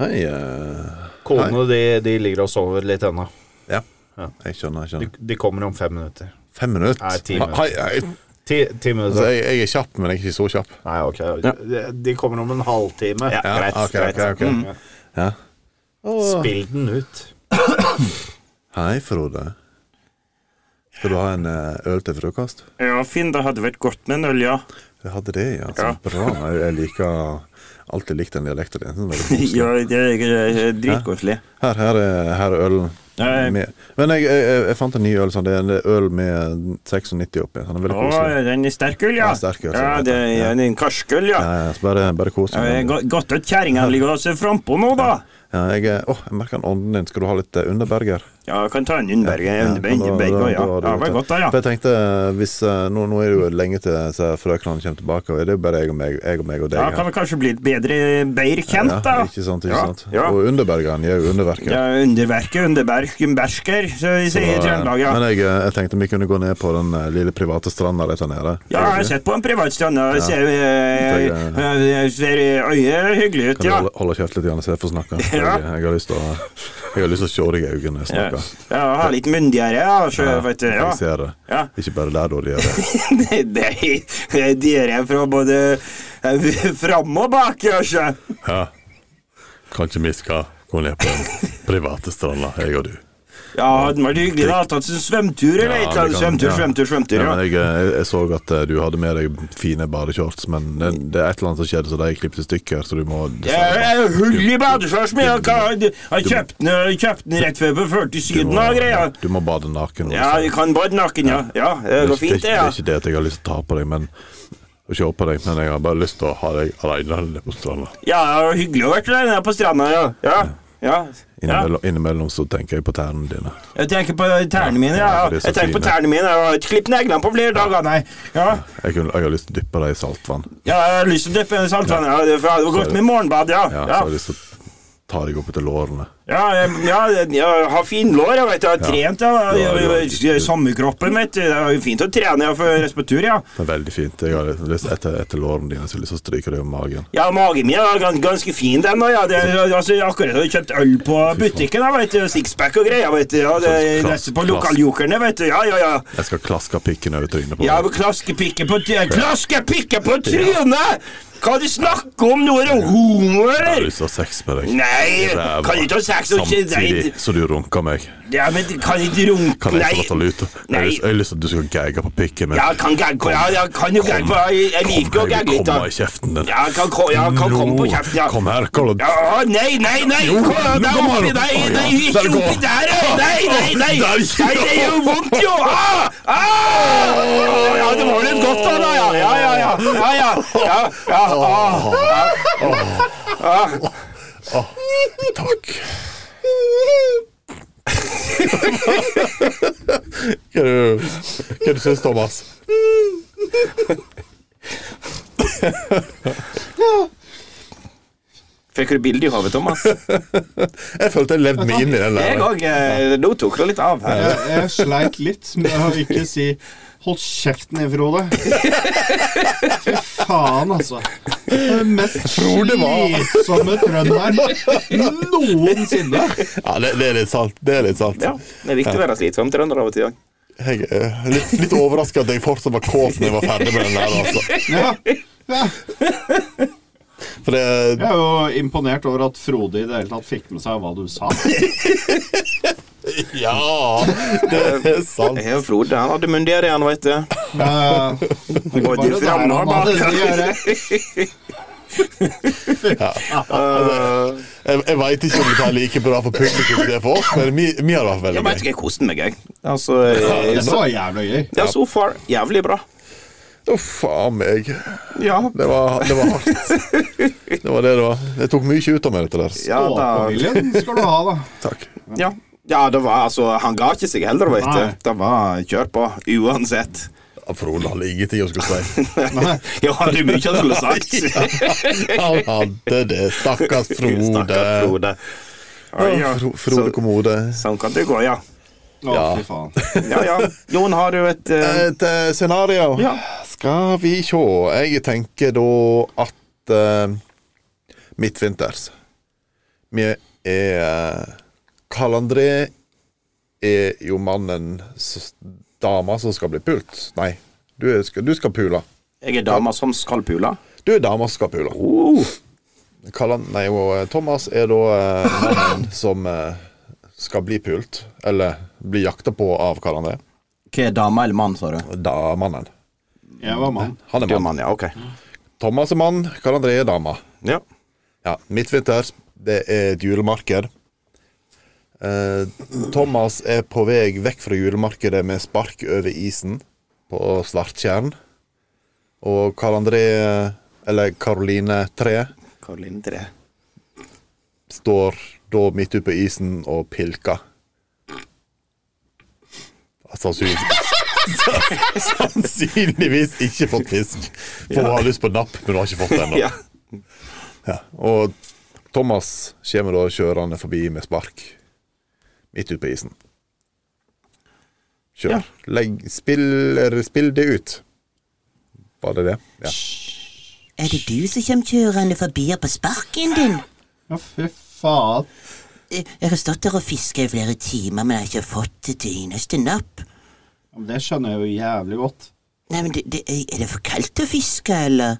C: Hei, eh,
A: Konene de, de ligger og sover litt ennå.
C: ja.
A: Ja.
C: Jeg skjønner. jeg
A: De,
C: skjønner
A: de kommer om fem minutter.
C: Fem minutter?
A: Nei, ti minutter.
C: Hei, hei.
A: Ti, ti
C: Altså,
A: minutter.
C: jeg, jeg er kjapp, men jeg er ikke så kjapp.
A: Nei, ok. De, de kommer om en halvtime.
B: Ja, greit.
C: ok,
B: greit.
C: ok, ok.
B: Mm.
C: Ja.
A: Spill den ut.
C: Hei, Frode. Skal du ha en eh, øl til frokost?
B: Ja, Finn, det hadde vært godt med en øl, ja.
C: Jeg hadde det, ja. Så
B: Ja.
C: bra. Jeg, jeg liker alltid likt den dialekten din. Den er veldig koselig.
B: Ja, det er, det er dritkoselig.
C: Her, her, er, her er ølen.
B: Nei.
C: Med. Men jeg, jeg, jeg- jeg fant en ny øl. Sånn. Det er en øl med 96 oppi. Den er veldig
B: Å,
C: koselig.
B: den er sterk øl, ja.
C: Ja, sterk øl,
B: ja,
C: sånn
B: det er
C: heter
B: ja,
C: den.
B: det er en karsk øl, ja.
C: Ja, sånn. ja, så bare, bare kos
B: Ja, det er
C: deg.
B: go- Godt at kjerringa ligger og ser frampå nå, da.
C: Ja, jeg, er- åh, jeg merker den ånden din. Skal du ha litt eh, underberger?
B: Ja, jeg kan ta en Undberg. Ja,
C: Ja, men da- da-
B: ja.
C: da-
B: ja,
C: da-
B: det var godt, da, ja.
C: For jeg tenkte, hvis, eh, nå, nå er det jo lenge til så frøknene kommer tilbake, og det er jo bare jeg og meg, jeg og, meg og deg
B: Da kan
C: her.
B: vi kanskje bli litt bedre, bedre kjent, da.
C: Ja, ikke sant, ikke
B: Ja,
C: sant?
B: Ja,
C: Og underbergeren gjør jo underverker.
B: ja underverket, underberg, bersker, som de sier i
C: Så, eh,
B: Trøndelag, ja.
C: Men jeg, eh, jeg tenkte vi kunne gå ned på den eh, lille private stranda rett her nede.
B: Ja, jeg har sett på en privat strand, og jeg ser, eh,
C: Så, eh,
B: eh, jeg ser eh, øyet hyggelig ut,
C: Kan du
B: ja.
C: holde, holde kjeft litt, grann, så jeg får snakke? Jeg,
B: Ja.
C: jeg har lyst til å jeg har lyst til å se deg i øynene når jeg
B: Ja,
C: snakker.
B: ja ha litt myndigere, ja, så, vet du, ja.
C: Jeg ser det.
B: Ja.
C: Ikke bare der, da. De gjør det.
B: Det det er dere fra både eh, fram og bak, kanskje.
C: Ja. Kanskje vi skal gå ned på den private stranda, jeg og du.
B: Ja, hadde vært hyggelig da, tatt en svømmetur eller et eller annet. Svømmetur, svømmetur, svømmetur,
C: Ja,
B: ja.
C: men jeg, jeg, jeg så at eh, du hadde med deg fine badeshorts, men det, det er et eller annet som skjedde, så de klippet i stykker, så du må
B: Det
C: sånn.
B: er hull i badeshorts, men jeg kan- jeg kjøpte den- jeg kjøpte den rett før på 40
C: du
B: Syden
C: må,
B: og greier.
C: du må bade naken.
B: Ja,
C: altså.
B: jeg kan bade naken, ja. Ja, det går fint, det,
C: det
B: ja.
C: er ikke det at jeg har lyst til å ta på deg, men å se på deg, men jeg har bare lyst til å ha deg alene nede på stranda.
B: Ja, det var hyggelig å vært der nede på stranda, ja. Ja, ja. ja.
C: Innimellom, innimellom så tenker jeg på tærne dine.
B: Jeg tenker på tærne mine, ja.
C: Ja, det er så
B: Jeg tenker på
C: fine.
B: tærne mine. Jeg har ikke klippet neglene på flere dager, nei. Ja.
C: Jeg, kunne, jeg har lyst til å dyppe deg i saltvann.
B: Ja, jeg har lyst til å dyppe i saltvann. Ja, det for det var godt med morgenbad, ja.
C: Ja, Så
B: Ja,
C: har jeg lyst til å ta deg opp etter lårene.
B: Ja, jeg, ja, jeg har fin lår, jeg vet, jeg har trent, jeg,
C: Ja,
B: jeg,
C: du har-
B: jeg, jeg. Sommerkroppen, vet du. Det er jo fint å trene, jeg, for jeg er på tur, ja.
C: Det er veldig fint. Jeg har lyst, etter, etter lårene dine så har jeg lyst til å stryke deg om magen.
B: Ja, magen min er gans, ganske fin, den, da. Ja. Det, er- altså, jeg har akkurat har kjøpt øl på butikken, jeg, vet du. Sixpack og greier, vet du. Ja, det,
C: Klass-
B: det er på
C: klass.
B: lokaljokerne, vet du. Ja, ja, ja.
C: Jeg skal klaske pikken over trynet på
B: Ja,
C: deg.
B: men klaskepikke på trynet Klaskepikke på trynet! Hva du snakker om nå? Er du homo,
C: Jeg har
B: eller?
C: lyst til å ha sex med deg.
B: Nei,
C: Ræva.
B: kan ikke ha sex og ikke Nei,
C: Samtidig så du runker meg.
B: ja, men kan ikke runke
C: Kan jeg få lov til å
B: Nei.
C: lute? Jeg har lyst- jeg har lyst til at du skal gagge på pikken min.
B: Ja, kan gagge Ja, jeg kan jo gagge på Jeg jeg liker å
C: Kom her,
B: gagge litt,
C: Kom her
B: da.
C: i kjeften din.
B: Ja, kan, ko- ja, kan komme på kjeften, ja.
C: Kom her, Karl.
B: Ja, nei, nei, nei!
C: Jo,
B: Kom,
C: nå
B: der
C: kommer
B: oppi,
C: han.
B: nei,
C: Å, ja.
B: nei, ikke
C: Der går
B: oppi
C: han.
B: der! ja. Nei, nei, nei!
C: Der
B: Nei,
C: gikk han.
B: det gjør vondt, jo! Ah! Ah! Ja, det var litt godt, da, da, ja. Ja, ja, ja. ja, ja. ja, ja. Ah.
C: Takk. Hva er det- hva er det du syns, Thomas?
B: Fikk du bilde i hodet, Thomas?
C: Jeg følte jeg levde meg inn i den der.
B: Jeg òg. Nå tok det litt av her.
F: Jeg, jeg sleit litt med å ikke si 'hold kjeften ned, Frode'. Fy faen, altså. Den mest
C: Frode var-
F: slitsomme trønderen noensinne.
C: Ja, det, det er litt sant. Det er litt sant.
B: Ja, det er viktig å være slitsom trønder av og til òg.
C: Jeg er litt, litt overraska at jeg fortsatt var kåt når jeg var ferdig med den der. Altså.
F: Ja. Ja.
C: For det,
F: Jeg er jo imponert over at Frode i det hele tatt fikk med seg hva du sa.
C: ja, det er sant.
B: Jeg og Frode han hadde myndighet i han, veit du.
F: Ja, ja.
B: Både
F: Bare der
B: fram
F: han
B: og
F: hadde
B: bak.
F: det å gjøre.
B: Eh,
C: Jeg, jeg veit ikke om det er like bra for publikum som det er for oss, men vi, vi har det
B: Jeg
C: veldig
B: vet
C: gøy.
B: ikke, jeg koste meg, jeg. Altså,
F: Det
B: eh, så,
F: var jævla gøy.
B: ja, so far jævlig bra.
C: Uff a meg.
B: Ja,
C: Det var, det var hardt. Det var det det var. Det tok mye ut av meg, dette der.
B: ja
F: Å,
B: da.
F: William skal du ha, da.
C: Takk.
B: Ja. ja, det var altså Han ga ikke seg heller, vet
F: Nei.
B: du. Det var kjør på, uansett.
C: Ja, Frode hadde ingenting å skulle si.
B: Jeg hadde jo mye han skulle sagt.
C: Han hadde det. Stakkars Frode.
B: Stakkars Frode. Oi, ja.
C: Ja, Fro- Frode Kommode.
B: Sånn kan det gå, ja.
F: Å,
C: Ja.
F: fy faen.
B: Ja, ja. Jon, har du et eh,
C: Et eh, scenario.
B: Ja.
C: Skal vi sjå. Jeg tenker da at eh, midtvinters Vi er eh, Karl André er jo mannen s- Dama som skal bli pult. Nei, du, er, skal, du skal pule.
B: Jeg er dama som skal pule.
C: Du er dama som skal pule.
B: Oh,
C: Karl An- Nei, og eh, Thomas er da eh, mannen som eh, skal bli pult. Eller bli jakta på av Karl André.
B: hva er dama eller mann, sa du?
C: Da, mannen.
F: Jeg var mann.
C: Han er
B: Du er mann,
C: mann.
B: ja. Ok.
C: Thomas er mann, Karl André er dama.
B: Ja.
C: Ja, Midtvinters, det er et julemarked. Eh, Thomas er på vei vekk fra julemarkedet med spark over isen på Svarttjern. Og Karl André, eh, eller Karoline 3,
B: Karoline Tre.
C: står da midt ute på isen og pilker. Sannsynligvis Sannsynligvis ikke fått fisk. For hun har lyst på napp, men hun har ikke fått det ennå.
B: Ja.
C: Og Thomas kommer da kjørende forbi med spark midt ute på isen. Kjør.
B: Ja.
C: Legg, spill, eller spill det ut. Var det det? Ja.
G: Er det du som kommer kjørende forbi her på sparken din?
F: Ja, fy faen.
G: Jeg jeg har stått der og fiska i flere timer, men jeg har ikke fått et eneste napp.
F: Ja, men Det skjønner jeg jo jævlig godt.
G: Nei, men det, det, Er det for kaldt å fiske, eller?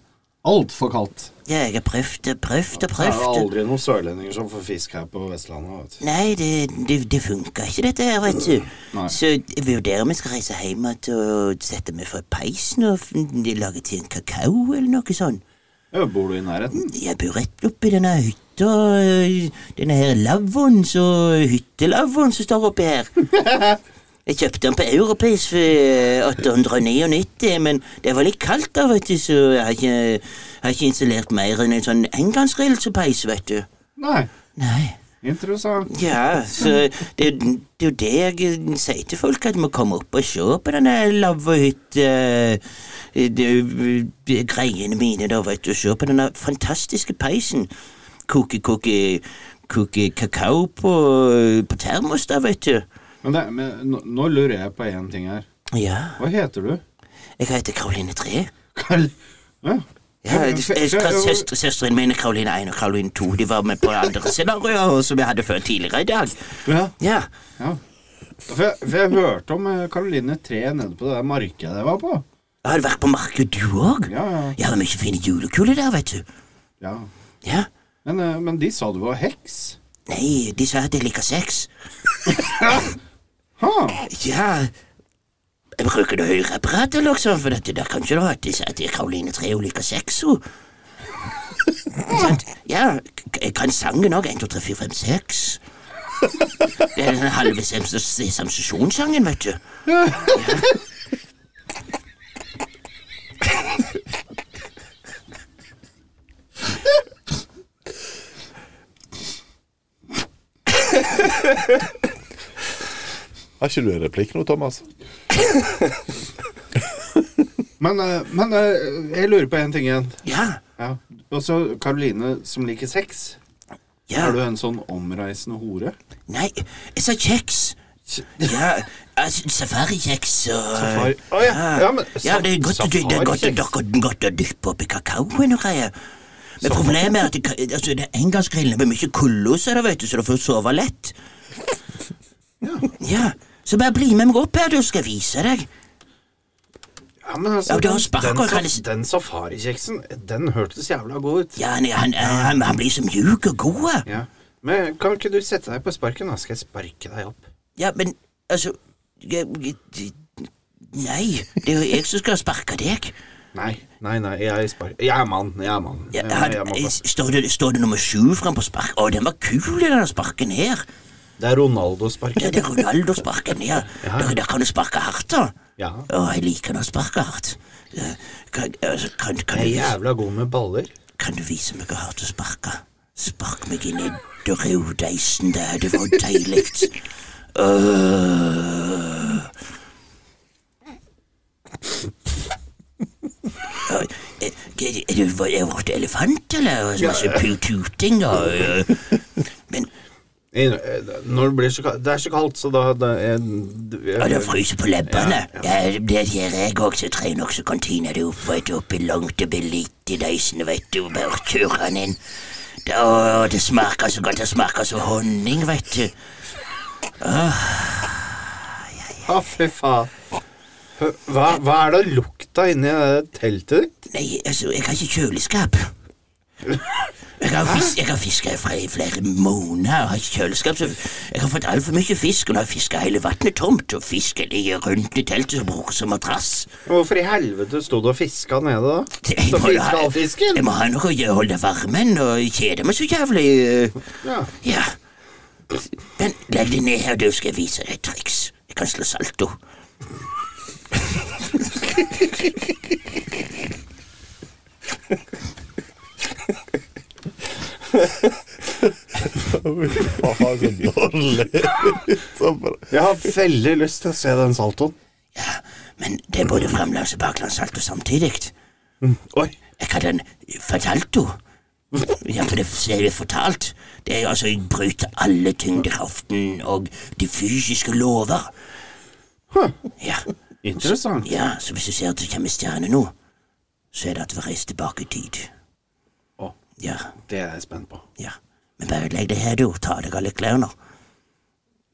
F: Altfor kaldt.
G: Ja, jeg har prøvd og prøvd og
A: Det er jo
G: prøvd.
A: aldri noen sørlendinger som får fisk her på Vestlandet. Vet du.
G: Nei, det, det, det funka ikke, dette her, vet du. Så jeg vurderer om jeg skal reise hjem igjen og sette meg for peisen og f- lage til en kakao eller noe sånt.
F: Ja, bor du i nærheten?
G: Jeg bor rett oppi denne hytta, øh, denne her lavvoen, så hyttelavvoen som står oppi her. Jeg kjøpte den på Europris for øh, 899, men det var litt kaldt da, vet du, så jeg har ikke, har ikke installert mer enn en sånn engangsrillsepeis, vet du.
F: Nei.
G: Nei.
F: Interessant.
G: Ja, så det, det er jo det jeg sier til folk, at de må komme opp og se på denne eh, lavvohytte-greiene mine, da, vet du. Se på denne fantastiske peisen. Koke-koke koke kakao på, på termos, da, vet du.
F: Men, det, men nå, nå lurer jeg på én ting her.
G: Ja.
F: Hva heter du?
G: Jeg heter Karoline 3.
F: Karl... Ja.
G: Ja, det- jeg- hva- søster, søsteren min er Karoline 1 og Karoline 2. De var med på andre scenarioer som jeg hadde før tidligere i dag.
F: ja.
G: Ja,
F: ja. For, jeg, for jeg hørte om eh, Karoline 3 nede på det der markedet jeg var på.
G: Har du vært på markedet, du òg?
F: Ja, ja.
G: Jeg har mye fine julekuler der, vet du.
F: ja.
G: Ja.
F: Men, eh, men de sa du var heks.
G: Nei, de sa at jeg liker sex.
F: Ha.
G: Ja Jeg bruker det høyreapparatet, liksom, for dette der kan ikke du ha at de sier at det er Karoline Tre og liker sex, hun. Sant? Ja, k- jeg kan sangen òg. 1, 2, 3, 4, 5, 6. Det er den halve samsesjonssangen, vet du.
C: Har ikke du en replikk nå, Thomas?
F: Men, eh, men eh, jeg lurer på én ting igjen.
G: Ja.
F: Ja. Også Karoline som liker sex.
G: ja.
F: Er du en sånn omreisende hore?
G: Nei, jeg sa kjeks. Ja, altså, safarikjeks og
F: Safari- Å, ja. Ja, men
G: ja, det er godt, det, det er godt, dere, godt å dyppe oppi kakaoen og greier. Men problemet er at det, ka- altså, det er engangsgrillene med mye kullos, er det, vet du, så du får sove lett. Ja, så bare bli med meg opp her, du, skal jeg vise deg.
A: Ja, men altså,
G: Ja, du har
A: den-
G: spark,
A: den,
G: og kan
A: saf
G: ikke-
A: den safarikjeksen, den hørtes jævla god ut.
G: Ja, han, han, han, han blir så mjuk og god.
A: Ja. Men kan ikke du sette deg på sparken, da? Skal jeg sparke deg opp?
G: Ja, men altså jeg, jeg, Nei, det er jo jeg som skal sparke deg.
A: Nei, nei, nei, jeg er spark... Jeg er mann, jeg er mann.
G: Ja,
A: Jeg-
G: han,
A: jeg må få-
G: står, det, står det nummer sju fram på spark? Å, den var kul, den der sparken her.
A: Det er Ronaldo-sparken.
G: Det, det er Ronaldo-sparken her. Der, der kan du sparke hardt, da.
A: Ja.
G: Å, jeg liker når han sparker hardt. Eh, Kan, altså, kan, kan,
A: Jeg er
G: du, vise-
A: jævla god med baller.
G: kan du vise meg hvor hardt du sparker? Spark meg inn i drøvdeisen der, det var deilig. Äh. Øh. Øh, Er er- er du er du vårt äh, elefant, eller? Masse pututing og øh. Men
A: I- Eh, Når det blir så kaldt Det er så kaldt, så da da- jeg,
G: Og det
A: jeg,
G: fryser på leppene. Ja, det gjør jeg òg, så trener også kantina det opp, vet du, oppi langt og litt i deisene, vet du, og bare kjører han inn. Det, å, det smaker så godt, det smaker som honning, vet du.
A: Å, fy faen. Hø- Hva, hva er det lukta inni det teltet ditt?
G: Nei, altså, jeg har ikke kjøleskap. Jeg har, fisk, jeg har fiska fra i flere måneder og har ikke kjøleskap, så jeg har fått altfor mye fisk, og nå har jeg fiska hele vannet tomt, og fisken ligger rundt i teltet og bruker som madrass.
A: Hvorfor i helvete sto du og fiska nede, da?
G: Jeg
A: Så
G: må
A: fiska
G: ha-
A: all fisken?
G: Jeg må ha noe å gjøre- holde varmen og kjede meg så jævlig. øh.
A: Ja.
G: Ja. Men legg deg ned her, du, skal jeg vise deg et triks. Jeg kan slå salto.
C: Faen, så dårlig. Så bare-
A: Jeg har veldig lyst til å se den saltoen.
G: Ja, men det er både fremlangs- og baklandssalto samtidig.
A: Oi.
G: Jeg kan den fatalto. Ja, for det er det fortalt. Det er altså jeg bryter alle tyngdekraften og de fysiske lover. Ja,
A: Interessant.
G: ja, så hvis du ser at det kommer stjerne nå, så er det at vi reiser tilbake i tid.
A: Å.
G: Ja,
A: Det er jeg spent på.
G: ja. Men bare legg deg her, du. Ta av deg alle klærne.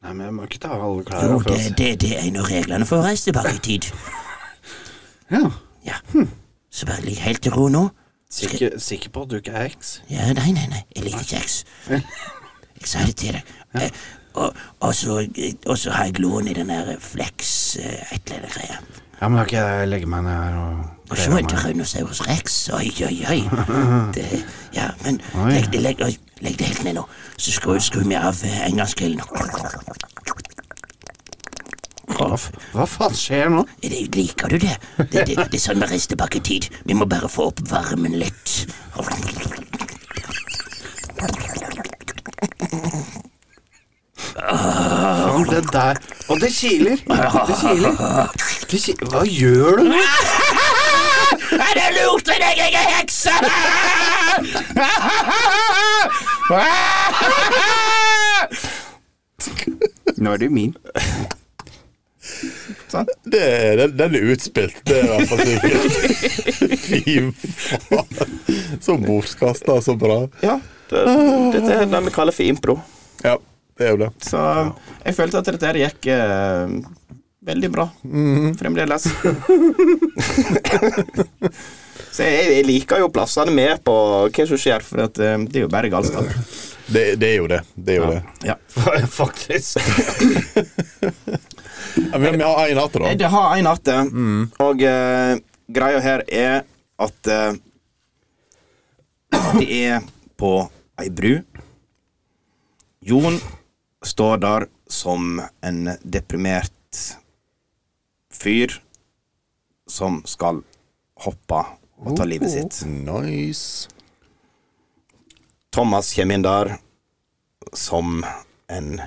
A: Nei, men jeg må ikke ta av alle altså. klærne
G: Jo,
A: for å
G: det,
A: se.
G: det, det er en av reglene for å reise tilbake i tid.
A: Ja.
G: Ja. Så bare ligg helt til ro nå.
A: Sikker, sikker på at du ikke er heks?
G: Ja, nei, nei, nei. Jeg liker kjeks. Jeg sa det til deg. Eh, Og, og, så, og så har jeg lån i den der Flex eh, et eller annet greie.
A: Ja, men da kan jeg legge meg ned her og kle
G: Og så
A: av
G: er det
A: meg.
G: Rhinosaurus rex. Oi, oi, oi. Det, ja, men legg det, legg, oi, legg det helt ned nå. Så skru, skru vi av eh, engangsgrillen.
A: Hva f- Hva faen skjer nå?
G: Er Det, liker du det? Det, det, det er sånn vi reiser tilbake i tid. Vi må bare få opp varmen litt.
A: Faen, det der Og det kiler! Det kiler. Det ki Hva gjør du nå?
G: Ah,
B: det er lurt i deg, jeg er hekse! Nå er det jo min.
C: Det, den, den er utspilt, det er i hvert fall sikkert. Fy faen. Så bortkasta, så bra.
B: Ja, det, dette er det vi kaller for impro.
C: Ja, det er jo det.
B: Så jeg følte at dette her gikk eh, veldig bra. Fremdeles. Så jeg, jeg liker jo plassene med på hva som skjer, for at, eh, det er jo bare galskap.
C: Det, det er jo det. det, er jo det.
B: Ja.
A: Faktisk.
C: Ja, men vi har én hatt, da.
B: Det har en art, det. Og eh, greia her er at eh, Det er på ei bru. Jon står der som en deprimert fyr som skal hoppe og ta livet sitt.
C: Nice.
B: Thomas kommer inn der som en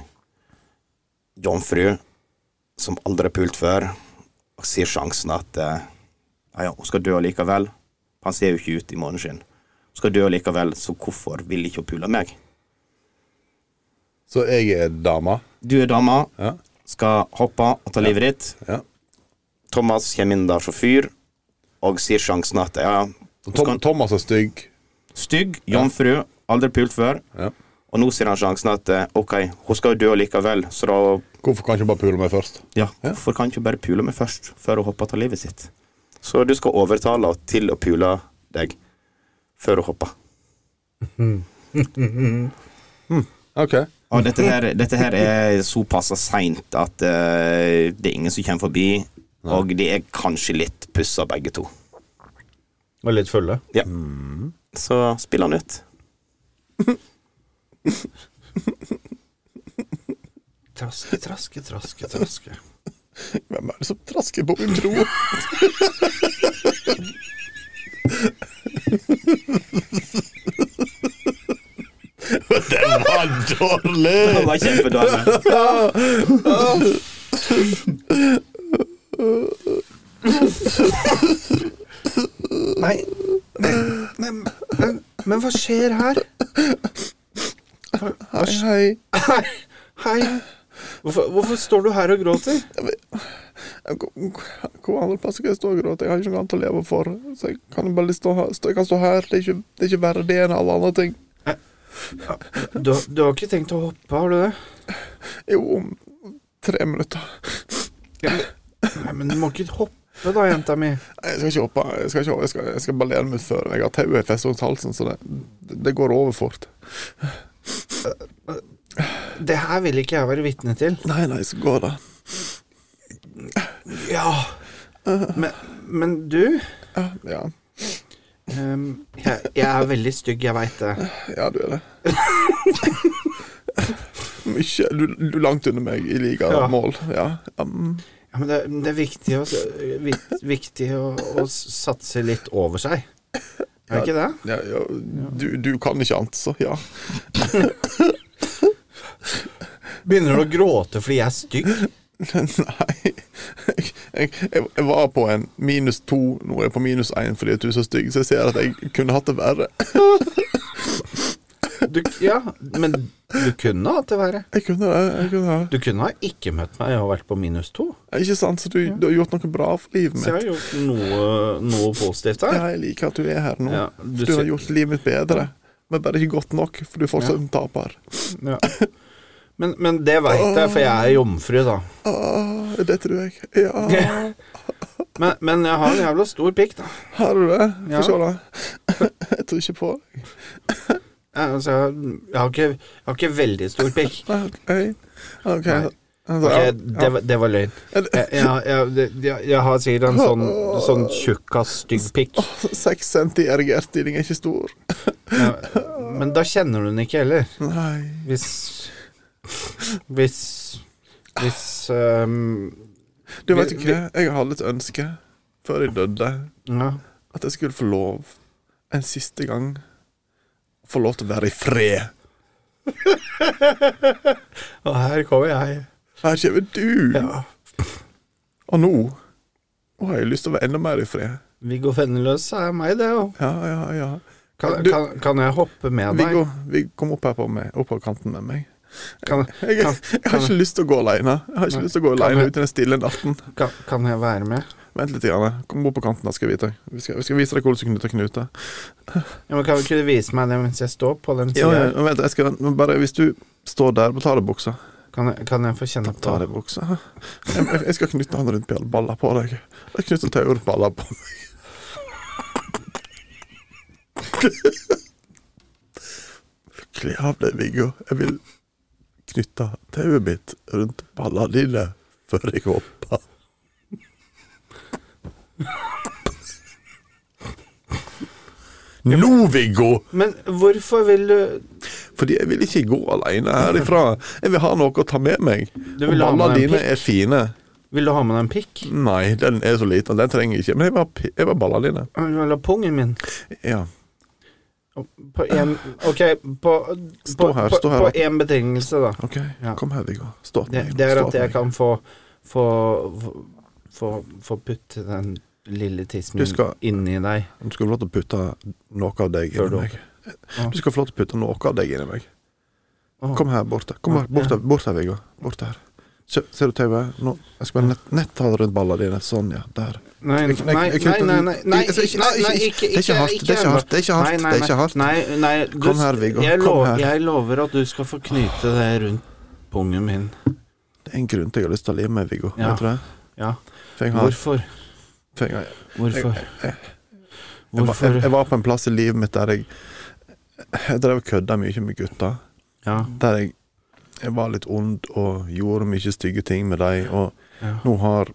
B: jomfru som aldri har pult før, og ser sjansen at eh, ja, ja, hun skal dø likevel. Han ser jo ikke ut i måneskinn. Hun skal dø likevel, så hvorfor vil ikke hun pule meg?
C: Så jeg er dama.
B: Du er dama,
C: Ja.
B: skal hoppe og ta livet ditt.
C: Ja.
B: Thomas kommer inn der som fyr, og ser sjansen at ja, ja,
C: Tom, Thomas er stygg.
B: stygg, jomfru, aldri pult før.
C: Ja.
B: Og nå ser han sjansen at eh, ok, hun skal jo dø likevel, så da
C: Hvorfor kan ikke bare pule meg først?
B: Ja, hvorfor kan ikke hun bare pule meg først, før hun hopper av livet sitt? Så du skal overtale henne til å pule deg før hun hopper.
C: Ok.
B: Og dette her, dette her er såpass seint at eh, det er ingen som kommer forbi, og de er kanskje litt pussa begge to.
A: Og litt fulle.
B: Ja. Så spill han ut.
A: Traske, traske, traske, traske.
C: Hvem er det som trasker på min tro? Den var
B: Han
C: dårlig!
B: var kjempedårlig.
A: Nei. Nei, men, men hva skjer her?
C: Hei, hei.
A: Hei. Hei. Hvorfor, hvorfor står du her og gråter?
C: Hvor andre plasser kan jeg stå og gråte? Jeg har ikke noe annet å leve for. Så jeg kan bare stå her. Stå- Jeg kan stå her. Det er ikke, det er ikke verre det enn alle andre ting.
A: Du, har- du har ikke tenkt å hoppe, har du det?
C: Jo, om tre minutter.
A: Nei, men du må ikke hoppe da, jenta mi.
C: Nei, Jeg skal ikke hoppe. Jeg skal, ikke, hoppe. jeg skal, jeg skal bare lene meg før. Jeg har tauet festet rundt halsen, så det, det går over fort.
A: Det her vil ikke jeg være vitne til.
C: Nei, nei, så går det.
A: Ja. Men, men du
C: Ja,
A: ehm, jeg, jeg er veldig stygg, jeg veit det.
C: ja du er det. Mykje. Du, du er langt under meg i liga
A: Ja.
C: mål. Ja. Um,
A: Ja, men det, det er viktig, å, vik- viktig å, å satse litt over seg. Er det ikke det?
C: ja, ja, du, du kan ikke annet, så ja.
A: Begynner du å gråte fordi jeg er stygg?
C: Nei. Jeg, jeg, jeg var på en minus to, nå er jeg på minus én fordi at du er så stygg, så jeg ser at jeg kunne hatt det verre.
A: Du, ja, men du kunne hatt det verre.
C: Jeg kunne det. jeg kunne det.
A: Du kunne ha ikke møtt meg og vært på minus to.
C: Ikke sant? Så du, du har gjort noe bra for livet
A: Så jeg
C: mitt.
A: har gjort noe, noe positivt her.
C: Ja, jeg liker at du er her nå.
A: Ja,
C: du,
A: du
C: du har
A: ser-
C: gjort livet mitt bedre. Men bare ikke godt nok, for du er fortsatt en taper.
A: Ja. Men, men det veit jeg, for jeg er jomfru, da.
C: Åh, det tror jeg. Ja,
A: Men, men jeg har en jævla stor pikk, da.
C: har du det?
A: Ja.
C: Få se, da. Jeg tror ikke på deg.
A: Jeg, altså, jeg, jeg, har ikke, jeg har ikke veldig stor pikk.
C: Nei, OK. Ok,
A: Nei.
C: Altså,
A: Ok,
C: ja,
A: det, var- det var løgn.
C: ja.
A: Jeg, jeg, jeg, det- jeg, jeg har sikkert en sånn, sånn tjukkas, stygg pikk.
C: Seks cent i erigert stilling er ikke stor.
A: Ja, Men da kjenner du den ikke heller.
C: Nei.
A: Hvis Hvis Hvis ehm,
C: Du vet
A: Vi-
C: ikke, jeg hadde et ønske før jeg døde,
A: ja.
C: at jeg skulle få lov, en siste gang, få lov til å være i fred.
A: Og her kommer jeg.
C: Her kommer du!
A: Ja.
C: Og nå Nå har jeg lyst til å være enda mer i fred.
A: Viggo Fenneløs er meg, det jo.
C: Ja, ja, ja.
A: Kan,
C: Du-
A: kan, kan jeg hoppe med deg?
C: Viggo, Viggo, kom opp her på, meg, opp på kanten med meg.
A: Kan,
C: Jeg,
A: kan,
C: jeg har ikke lyst til å gå alene. Jeg har ikke lyst til å gå
A: Kan
C: alene
A: jeg-
C: ut i den stille natten.
A: kan, kan jeg være med?
C: Vent litt. Grann. Kom bort på kanten, da skal jeg vite. Vi skal, vi skal vise deg hvordan du knytter knuter.
A: Ja, men kan du ikke vise meg det mens jeg står på den
C: Ja,
A: sida?
C: ja, men vent, jeg skal men bare Hvis du står der, bare ta av deg buksa.
A: Kan, jeg- kan jeg få kjenne
C: Ta
A: på
C: av deg buksa. Jeg, jeg- jeg skal knytte han rundt ball- balla på deg. Jeg knytter tauet rundt balla på meg. Kle av deg, Viggo. Jeg vil knytte tauet mitt rundt balla dine før jeg hopper. Nå, Viggo!
A: Men hvorfor vil du
C: Fordi jeg vil ikke gå alene herifra. Jeg vil ha noe å ta med meg.
A: Du
C: Og
A: vil ha med
C: ballene
A: deg en
C: dine er fine.
A: Vil du ha med deg en pikk?
C: Nei, den er så liten. Den trenger jeg ikke. Men jeg vil ha, pi- jeg vil ha ballene dine.
A: Vil du ha pungen min?
C: Ja.
A: På en, ok, på, på,
C: Stå her,
A: på,
C: stå her,
A: på
C: da.
A: én betingelse, da.
C: OK,
A: Ja.
C: kom her, Viggo. Stå
A: Det,
C: meg nå,
A: det er
C: stå
A: at jeg
C: meg.
A: kan få Få, få, få putte den lille tissen
C: Du skal-
A: inni deg.
C: Du skal få lov til å putte noe av deg
A: Før du
C: inni meg.
A: Ja.
C: Du skal få lov til å putte noe av deg inni meg.
A: Åh.
C: Kom her borte. Kom her, bort, her, bort her, Viggo. Bort her. Se- Ser du tauet? Nå, jeg skal bare nett, nett ta det rundt ballene dine. Sånn, ja. Der.
A: Nei, nei,
C: Jeg- jeg-
A: nei,
C: jeg-
A: nei, nei, nei, nei,
C: Altså, ikke- nei,
A: nei,
C: ikke- det er ikke hardt, det er ikke hardt, det er ikke hardt,
A: Nei, nei,
C: det er ikke
A: nei,
C: hardt.
A: Nei, nei, du,
C: Kom her, Viggo,
A: Jeg,
C: kom her.
A: jeg lover at du skal få knyte det rundt pungen min.
C: Det er en grunn til jeg har lyst til å leve med Viggo.
A: Ja.
C: Vet du det?
A: Ja.
C: For jeg har,
A: Hvorfor?
C: for jeg har
A: Hvorfor?
C: Jeg var, jeg, jeg
A: Hvorfor?
C: var på en plass i livet mitt der jeg, jeg drev og kødda mye med gutter.
A: Ja.
C: Der jeg, jeg var litt ond og gjorde mye stygge ting med dem. Og
A: Ja.
C: nå har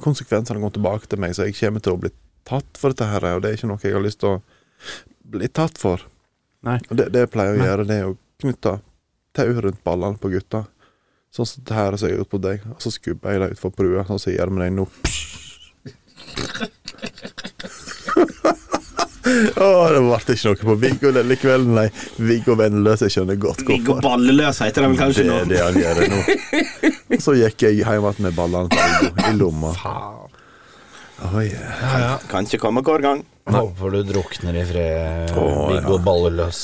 C: konsekvensene gått tilbake til meg, så jeg kommer til å bli tatt for dette her. Og det er ikke noe jeg har lyst til å bli tatt for.
A: Nei.
C: Og det, det jeg pleier å
A: Nei.
C: gjøre, det er å knytte tau rundt ballene på gutta. Sånn som det her som jeg har gjort på deg. Og så skubber jeg deg utfor brua, sånn som jeg gjør med deg nå. Å, det ble ikke noe på Viggo denne kvelden, nei. Viggo Vennløs, jeg skjønner godt
B: Viggo
C: hvorfor.
B: Balleløs heter den kanskje
C: Det
B: nå.
C: er det han gjør nå. Og Så gikk jeg hjem igjen med ballene til Viggo i lomma. Oh, yeah.
B: Kan ikke komme hver gang.
A: Håper du drukner i fred,
C: Å,
A: Viggo Balleløs.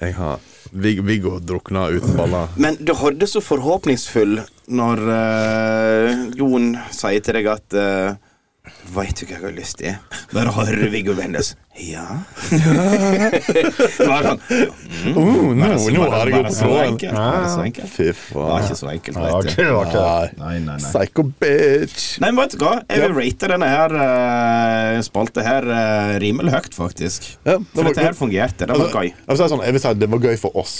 C: Jeg har Vig- Viggo drukna uten baller.
B: Men du hørte så forhåpningsfull når eh, Jon sier til deg at uh, Veit du hva jeg har lyst til? Bare høre Viggo Vendes. Ja? det var sånn
C: Oh, nå,
B: så- bare-
C: nå har jeg
B: bare
C: gått sånn, på
B: så
C: tråden.
B: enkelt, bare så enkelt.
C: Fy
B: Det var
C: faen.
B: ikke så enkelt,
A: Ja,
B: vet
A: det
B: du.
A: var ikke det.
B: Nei, nei, nei.
C: Psycho bitch.
B: Nei, men vet du hva? Jeg vil rate denne her eh, spalte her eh, rimelig høyt, faktisk.
C: Ja, det
B: For
C: var-
B: dette her fungerte. Det var
C: Altså,
B: gøy.
C: jeg vil si sånn, jeg vil si at det var gøy for oss.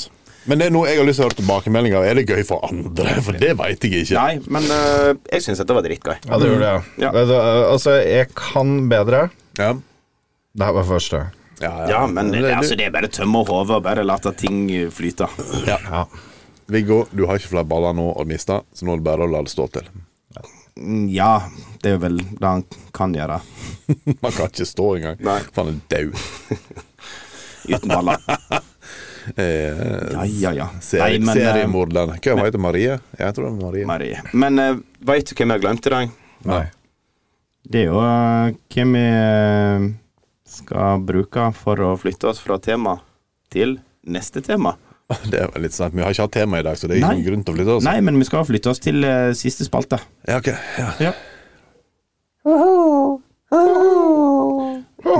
C: Men det er noe jeg har lyst til å høre tilbakemeldinger av. Er det gøy for andre? For det veit jeg ikke.
B: Nei, men eh, jeg syns dette var dritgøy.
A: Ja, det gjorde jeg.
B: Ja.
A: Vet du, Altså, jeg kan bedre.
C: Ja.
A: Det her var første.
C: Ja, ja.
B: Ja, men
C: det-
B: altså, det er bare å tømme hodet og bare la at ting flyte.
A: Ja.
C: Viggo, du har ikke flere baller nå å miste, så nå er det bare å la det stå til.
B: Mm, Ja, det er vel det han kan gjøre.
C: Man kan ikke stå engang.
B: Nei.
C: For han er død.
B: Uten baller.
C: Eh,
B: Ja, ja, ja.
C: seri
B: Nei, men, eh,
C: seriemorderen. Hva heter hun? Marie? Jeg tror det er Marie.
B: Marie. Men uh, veit du hvem jeg har glemt i dag?
A: Nei.
B: Det er jo eh, hvem vi eh, skal bruke for å flytte oss fra tema til neste tema.
C: Det er vel litt sant. Vi har ikke hatt tema i dag, så det er ikke
B: Nei.
C: noen grunn til å flytte oss.
B: Nei, men vi skal flytte oss til eh, siste spalte.
C: Ja, ok. ja.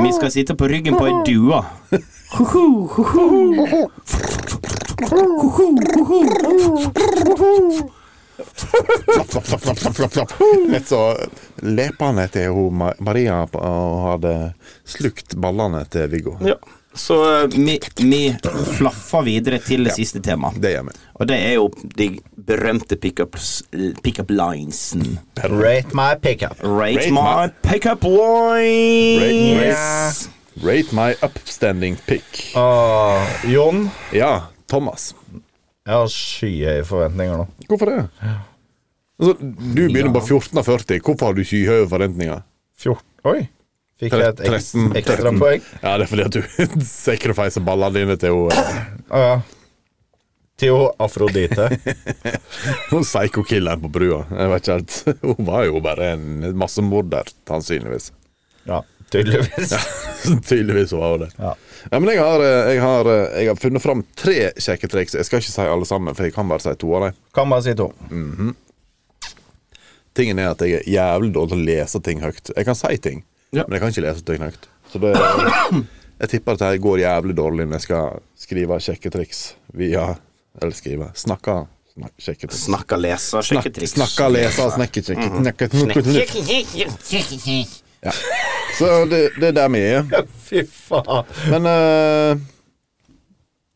B: Vi skal sitte på ryggen på ei due.
C: Flapp, flapp, flapp, flapp, flapp, flapp, flapp. Litt så leppene til hun, Ma- Maria på- og hadde slukt ballene til Viggo.
B: Ja. Så eh, vi, vi flaffer videre til det siste tema.
C: Det gjør vi.
B: Og det er jo de berømte pickups- eh, pickup linesen.
A: Rate my pickup.
B: Rate
C: Rate
B: my
C: my-
B: pickup lines!
C: Rate my upstanding pick.
A: Ah, Jon,
C: Ja, Thomas.
A: jeg har skyhøye forventninger nå.
C: Hvorfor det? Altså, du begynner på 14 av 40. Hvorfor har du skyhøye forventninger?
A: 14 Oi! Fikk jeg et eks-
C: 13,
A: ekstra
C: 13.
A: poeng?
C: Ja, det er fordi at du sacrificer ballene dine til hun- eh,
A: Ah, ja. Til hun Afrodite.
C: hun psycho-killeren på brua. Jeg vet ikke helt. Hun var jo bare en massemorder, sannsynligvis.
A: Ja. tydeligvis.
C: Tydeligvis så var hun det.
A: Ja.
C: Ja, men jeg har, eh, jeg, har, eh, jeg har funnet fram tre kjekke triks. Jeg skal ikke si alle sammen, for jeg kan bare si to av dem.
A: Kan bare si to.
C: Tingen er at jeg er jævlig dårlig til å lese ting høyt. Jeg kan si ting,
B: Ja.
C: men jeg kan ikke lese ting høyt. Så det Jeg tipper at dette går jævlig dårlig når jeg skal skrive kjekke triks via Eller skrive snakke snak, kjekke triks.
B: Snakka, lese, sjekke
C: Snakk-
B: triks.
C: Snakka, lese, snakke, kjekke snakke, snakke, snakke. Så det, det er der vi er.
A: Fy faen.
C: Men eh,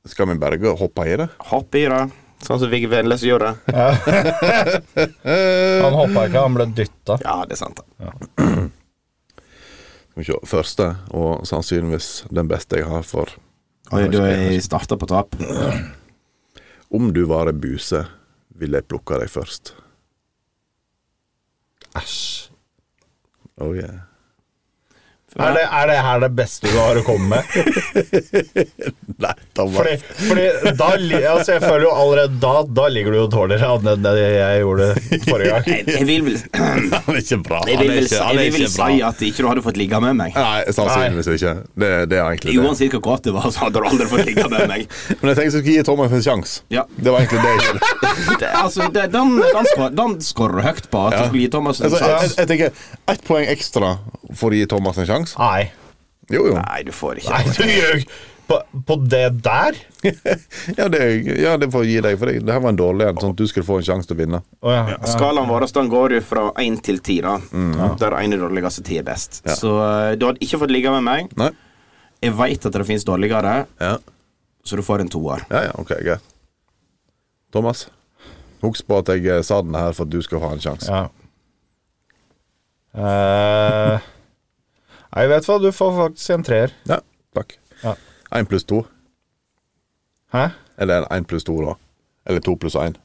C: skal vi bare gå og hoppe i det?
B: Hopp i det. Sånn som Viggo Vennes gjorde.
A: Han hoppa ikke, han ble dytta.
B: Ja, det er sant. da.
C: Skal vi se. Første, og sannsynligvis den beste jeg har for
B: Oi, du er starta på tap.
C: Om du var ei buse, ville jeg plukka deg først.
A: Æsj.
C: Oh yeah.
A: Er det, er det her det beste du har å komme med?
C: Nei, da var
A: Fordi, fordi da, li- altså jeg føler jo allerede da Da ligger du jo dårligere an enn det jeg gjorde forrige gang.
G: Jeg vil vel
C: Han er ikke bra.
G: Jeg
C: Han
G: vil
C: er
G: vel,
C: ikke, han er
G: jeg vil vel
C: ikke bra.
G: si at ikke du hadde fått ligge med meg.
C: Nei, sannsynligvis ikke. Det, det er egentlig det.
B: Uansett hvor godt det var, så hadde du aldri fått ligge med meg.
C: Men jeg tenkte jeg skulle gi Thomas en sjanse.
B: Ja.
C: Det var egentlig det jeg gjorde.
B: Det, altså, det, den, den, skår, den skårer du høyt på. At du skulle gi Thomas en
C: Altså, jeg, jeg,
B: sats.
C: jeg tenker ett poeng ekstra for å gi Thomas en sjanse.
A: Nei.
C: Jo, jo.
B: Nei, du får ikke
A: Nei, du gjør jo ikke på, på det der?
C: Ja, det, ja, det får jeg gi deg, for det, det her var en dårlig en. Sånn at du skulle få en sjanse til å vinne.
A: Å ja. ja.
G: altså.
B: Skalaen vår den går jo fra én til ti, da. Der én er dårligst og ti er best. Så eh, du hadde ikke fått ligge med meg.
C: Nei?
B: Jeg veit at det fins dårligere,
C: Ja.
B: så du får en toer.
C: Ja, ja, ok, greit. Thomas, husk på at jeg eh, sa den her for at du skal ha en sjanse.
A: Ja. Eh, jeg vet hva, du får faktisk en treer.
C: Ja. takk.
A: Ja.
C: Én pluss to.
A: Hæ?
C: Eller én pluss to, da. Eller to pluss én.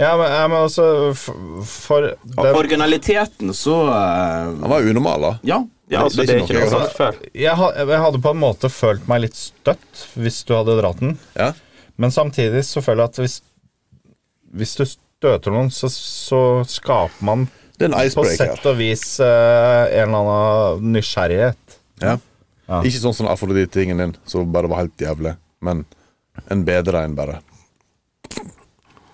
A: Ja, men, ja, men altså For, for den,
B: Originaliteten, så eh,
C: Han var unormal, da.
B: Ja. ja altså, det er ikke noe sånt før.
A: jeg, ha- jeg hadde på en måte følt meg litt støtt hvis du hadde dratt den,
C: Ja.
A: men samtidig så føler jeg at hvis, hvis du støter noen, så, så skaper man
C: Det er en
A: på sett
C: icebreaker.
A: og vis eh, en eller annen nysgjerrighet.
C: Ja. Ikke sånn som afrodite-tingen din, som bare var helt jævlig. Men en bedre enn bare.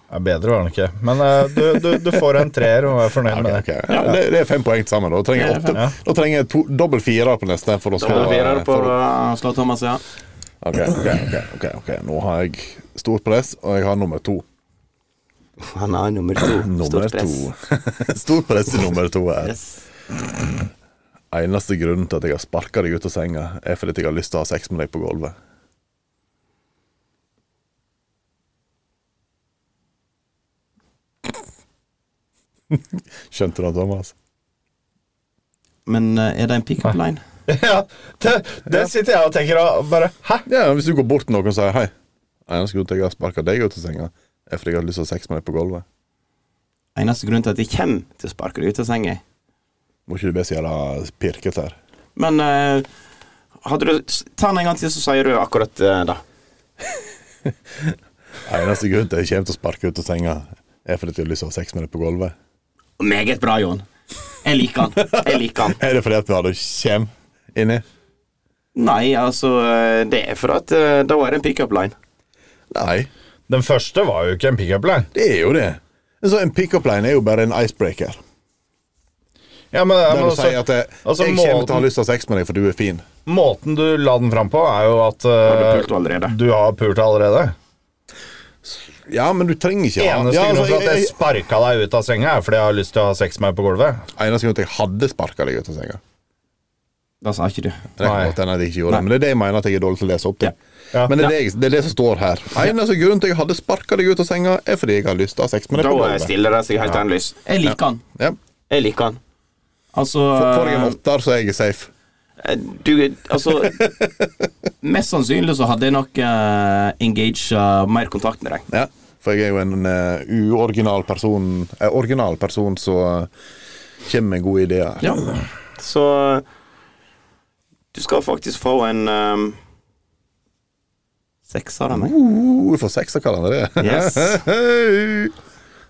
A: Ja, bedre var den ikke, men eh, du, du, du får en treer og er fornøyd
C: Ok,
A: med
C: ok.
A: det.
C: Ja, det, det er fem poeng til sammen. Da trenger jeg, åtte,
A: ja.
C: da trenger jeg to, dobbel fire på neste. For å slå,
B: Dobbel fire
C: eh,
B: på
C: for å-
B: eh, slå Thomas, ja.
C: Ok, ok, ok, ok, ok. Nå har jeg stort press, og jeg har nummer to.
G: Han har nummer to.
C: Nummer
G: Stort press.
C: to. stort press i nummer to her.
G: Yes.
C: Eneste grunnen til at jeg har sparka deg ut av senga, er fordi jeg har lyst til å ha sex med deg på gulvet. Skjønte du det, altså? Thomas?
B: Men eh, er det en pickup line?
A: Ja, det, det sitter jeg og tenker og bare Hæ?
C: Ja, Hvis du går bort til noen og sier hei Eneste grunnen til at jeg har sparka deg ut av senga, er fordi jeg har lyst til å ha sex med deg på gulvet.
B: Eneste grunn til at jeg kommer til å sparke deg ut av senga.
C: Må ikke du bli så jævla pirket her.
B: Men eh, hadde du Ta den en gang til, så sier du akkurat eh, det.
C: Eneste grunnen til at jeg kommer til å sparke ut av senga, er fordi jeg har lyst til å ha sex med deg på gulvet.
B: Meget bra, Jon. Jeg liker han. Jeg liker han.
C: Er det fordi at vi hadde kjem inni?
B: Nei, altså eh, Det er for at eh, da er det en pickup line.
C: Nei,
A: Den første var jo ikke en pickup line.
C: det er jo det. En sånn- en pickup line er jo bare en icebreaker.
A: Ja, men,
C: Der
A: men
C: du
A: altså,
C: sier at jeg,
A: altså,
C: jeg kommer til å ha lyst til å ha sex med deg, for du er fin.
A: Måten du la den fram på, er jo at
B: Har du
A: eh,
B: pult allerede?
A: du har pult allerede.
C: Ja, men du trenger ikke ha
A: Eneste
C: ja,
A: grunn
C: altså,
A: til at
C: jeg,
A: jeg
C: jeg,
A: sparka deg ut av senga, er fordi jeg har lyst til å ha sex med deg på gulvet.
C: Eneste grunn til at jeg hadde sparka deg ut av senga.
B: Det sa ikke du.
C: Det kan
A: Nei.
C: godt hende at jeg ikke gjorde det, men det er det jeg mener at jeg er dårlig til å lese opp til.
A: Ja.
C: Men det er det, jeg, det er det som står her. Eneste grunn til at jeg hadde sparka deg ut av senga, er fordi jeg har lyst til å ha sex med deg
B: Da
C: på
B: eh,
C: gulvet.
B: stiller det seg helt endeløst. Jeg liker han.
C: Ja.
B: Jeg liker han. Altså
C: Får jeg en åtter, så er jeg safe.
B: eh, Du Altså Mest sannsynlig så hadde jeg nok uh, engaged eh, mer kontakt med deg.
C: Ja, for jeg er jo en eh, uoriginal person eh, Original person som kommer med gode ideer.
B: Ja. Så eh, Du skal faktisk få en um, Sekser av meg.
C: Uh, vi får seks av hverandre.
B: Yes.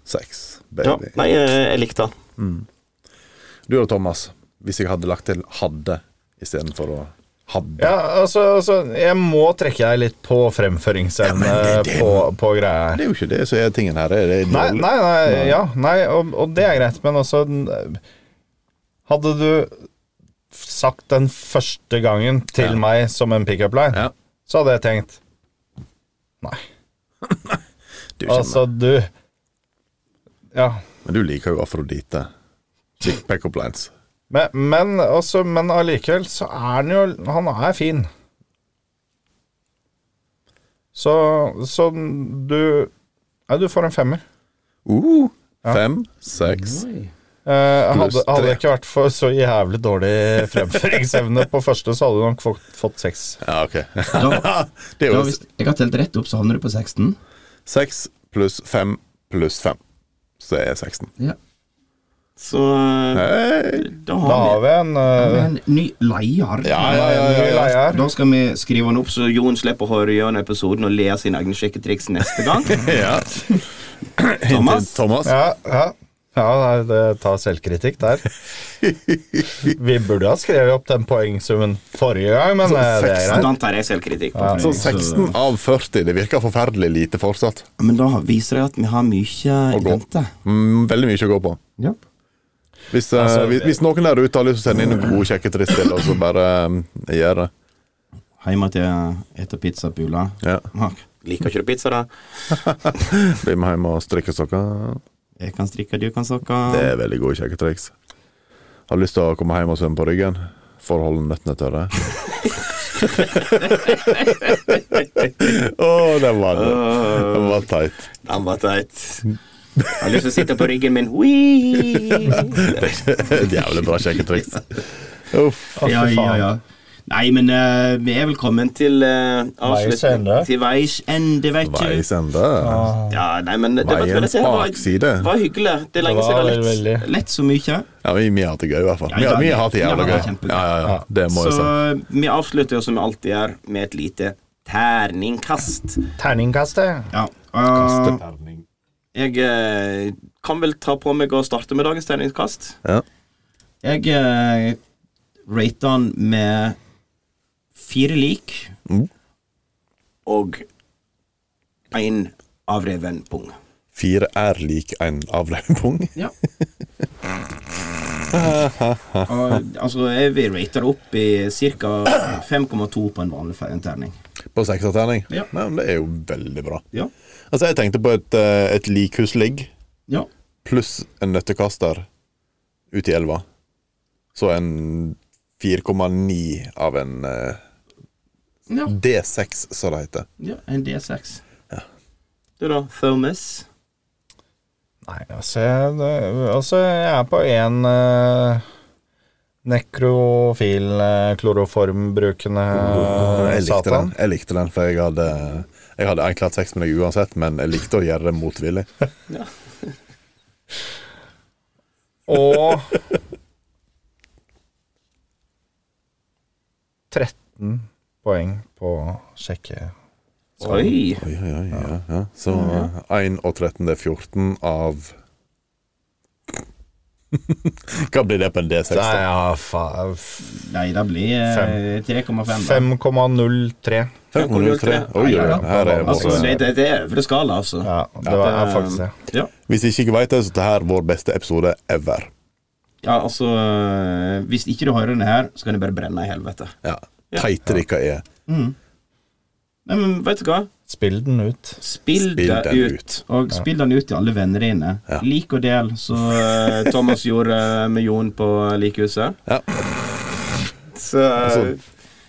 C: Seks,
B: Ja,
C: baby.
B: nei, eh, jeg likte han.
C: Du da, Thomas. hvis jeg hadde lagt til 'hadde' istedenfor å 'hadde'.
A: Ja, altså, altså Jeg må trekke deg litt på fremføringsevne
C: Ja, men det- det-
A: på, på greia her.
C: Det er jo ikke det som er tingen her. Det er
A: Nei, nei, nei, ja, nei og, og det er greit, men også den- Hadde du sagt den første gangen til
C: Ja.
A: meg som en pickup line,
C: Ja.
A: så hadde jeg tenkt Nei.
C: Du kjenner-
A: Altså, du Ja.
C: Men du liker jo Afrodite. Chick Pickup Lines.
A: Men, men, også, men allikevel så er han jo Han er fin. Så, så du Ja, du får en femmer.
C: Uh, Fem, seks
A: Eh, hadde,
C: Pluss tre.
A: hadde det ikke vært for så jævlig dårlig fremføringsevne på første, så hadde du nok fått, fått seks.
C: Ja, ok.
G: Da,
C: Det er
G: da,
C: jo
G: hvis jeg har telt rett opp, så havner du på 16.
C: seks pluss fem pluss fem. Så det er 16.
G: Ja.
B: Så eh,
C: Hei.
B: da
A: Da
B: har
A: har vi en eh,
G: Men ny leier
C: Ja, ja, ja.
A: ny
C: ja, ja.
A: leier.
G: Da skal vi skrive den opp.
B: så Jon slipper å høre gjennom episoden og le av sine egne sjekketriks neste gang.
C: ja.
B: Thomas?
C: Thomas.
A: Ja, ja. ja nei, det tar selvkritikk der. Vi burde ha skrevet opp den poengsummen forrige gang, men
C: Sånn
A: eh, det er
B: Så
A: greit.
B: da tar jeg selvkritikk. på det.
C: Så 16 av 40. Det virker forferdelig lite fortsatt.
B: Men da viser det at vi har mye i
C: Å gå.
B: vente.
C: Mm, veldig mye å gå på.
G: Ja.
C: Hvis, eh, hvis, hvis noen der ute har lyst til å sende inn noen gode sjekketriks til, og så bare eh, gjør det.
B: Hjemme til jeg spiser pizza på jula.
C: Ja.
B: Mak, Liker ikke du pizza, da?
C: Bli med hjem og strikke sokker.
B: Jeg kan strikke, du kan
C: Det
B: sokke.
C: er veldig gode kjekketriks. Har lyst til å komme hjem og svømme på ryggen. For å holde nøttene tørre. Å, den var Den var teit.
B: Den var teit. Jeg har lyst til å sitte på ryggen min. Hui!
C: Et jævlig bra kjekketriks. Uff.
G: Ja, ja, ja.
B: Nei, men eh, vi er vel kommet til uh,
A: Veis ende.
B: Til veis ende, vet du.
C: Veis ende.
B: Ja, nei, men det, det, var-
C: Veiens
B: vil jeg si, det var,
C: bakside.
B: var hyggelig. Det er lenge
A: Det
B: siden
A: var
B: jeg har
A: veldig,
B: lett, lett så mye.
C: Ja, vi, vi har hatt det gøy, i hvert fall.
G: Ja,
C: Vi,
G: ja,
C: har- vi har
G: ja.
C: hatt det jævlig
G: Ja,
C: gøy.
G: det var kjempegøy.
C: Ja, ja, ja. Det må
B: Så
C: jeg si.
B: vi avslutter jo som vi alltid gjør, med et lite terningkast.
A: Terningkastet.
G: ja. Uh,
B: Jeg eh, kan vel ta på meg å starte med dagens terningkast.
C: Ja.
B: Jeg eh, rater den med fire lik og én avreven pung.
C: Fire er lik en avløpung.
G: ja. Og, altså, jeg vil rate det opp i ca. 5,2 på en vanlig fe- en terning.
C: På sekserterning.
G: Ja.
C: Nei, men Det er jo veldig bra.
G: Ja.
C: Altså, jeg tenkte på et, eh, et likhusligg.
G: ja.
C: pluss en nøttekaster ut i elva. Så en 4,9 av en eh,
G: Ja.
C: D6, som det heter.
G: Ja, en D6.
B: Du da, Thomas?
A: Nei, altså jeg, det- altså, jeg er på én nekrofil eh, kloroformbrukende eh,
C: jeg, likte den.
A: satan.
C: jeg likte den, for jeg hadde Jeg hadde egentlig hatt sex med deg uansett, men jeg likte å gjøre det motvillig.
A: Og 13 poeng på sjekke.
B: Oi!
C: Oi, oi, oi, ja, ja. Så eh, 1 og 13 det er 14 av Hva blir det på en D6?
A: Nei,
C: da?
A: ja, fa- f-
G: Nei, det blir eh, 3,5. da.
A: 5,03.
C: 503. Oi, oi, oi. Her er
G: Altså,
C: vår
G: det, det, det er øvre skala, altså.
A: Ja, det var, er faktisk det.
B: Ja.
C: Hvis ikke jeg vet det, så er dette vår beste episode ever.
B: Ja, altså øh, Hvis ikke du hører den her, så kan du bare brenne i helvete.
C: Ja. Teite dere er.
B: Nei, men vet du hva?
A: Spill den ut.
B: Spill,
C: Spill
B: det
C: den
B: ut. Og spill den ut til alle venner dine.
C: Ja.
B: Lik og del, så øh, Thomas gjorde øh, med Jon på Likhuset.
C: Ja.
B: Så øh,
C: Altså,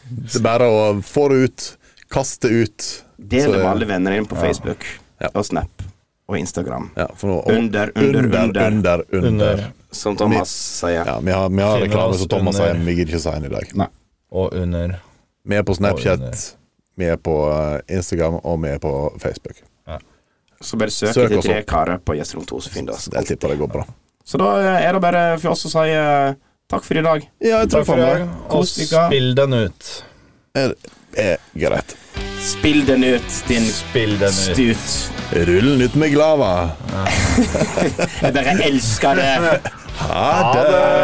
C: Det er bare å få det ut, kaste det ut.
B: del
C: så-
B: det med alle venner dine på Facebook
C: Ja.
B: og Snap og Instagram.
C: Ja, for nå,
B: Under, under,
C: under,
B: under,
C: under, under.
A: Under.
B: som Thomas sier.
C: Ja, vi har, vi har
A: Finner
C: reklame
A: oss
C: som Thomas
A: under.
C: sier, men vi gidder ikke si den i dag.
G: Nei.
A: Og under.
C: Vi er på
A: Og under.
C: Snapchat, vi er på eh, Instagram, og vi er på Facebook.
B: Så bare søk
C: Søk
B: etter
C: oss
B: tre
C: opp.
B: karer på Gjest rundt hos Findus.
C: Jeg tipper Altså, det går bra.
B: Så da øh, er det bare for oss å si øh, takk for i dag.
C: Ja, jeg tror
A: Takk for i
C: faen
A: dag,
C: meg
A: og
B: Kos dere.
A: spill den ut.
C: er, er greit.
B: Spill den ut, din
A: Spill den ut.
B: stut.
C: Rull den ut med glava.
B: Jeg bare elsker det.
C: Ha det!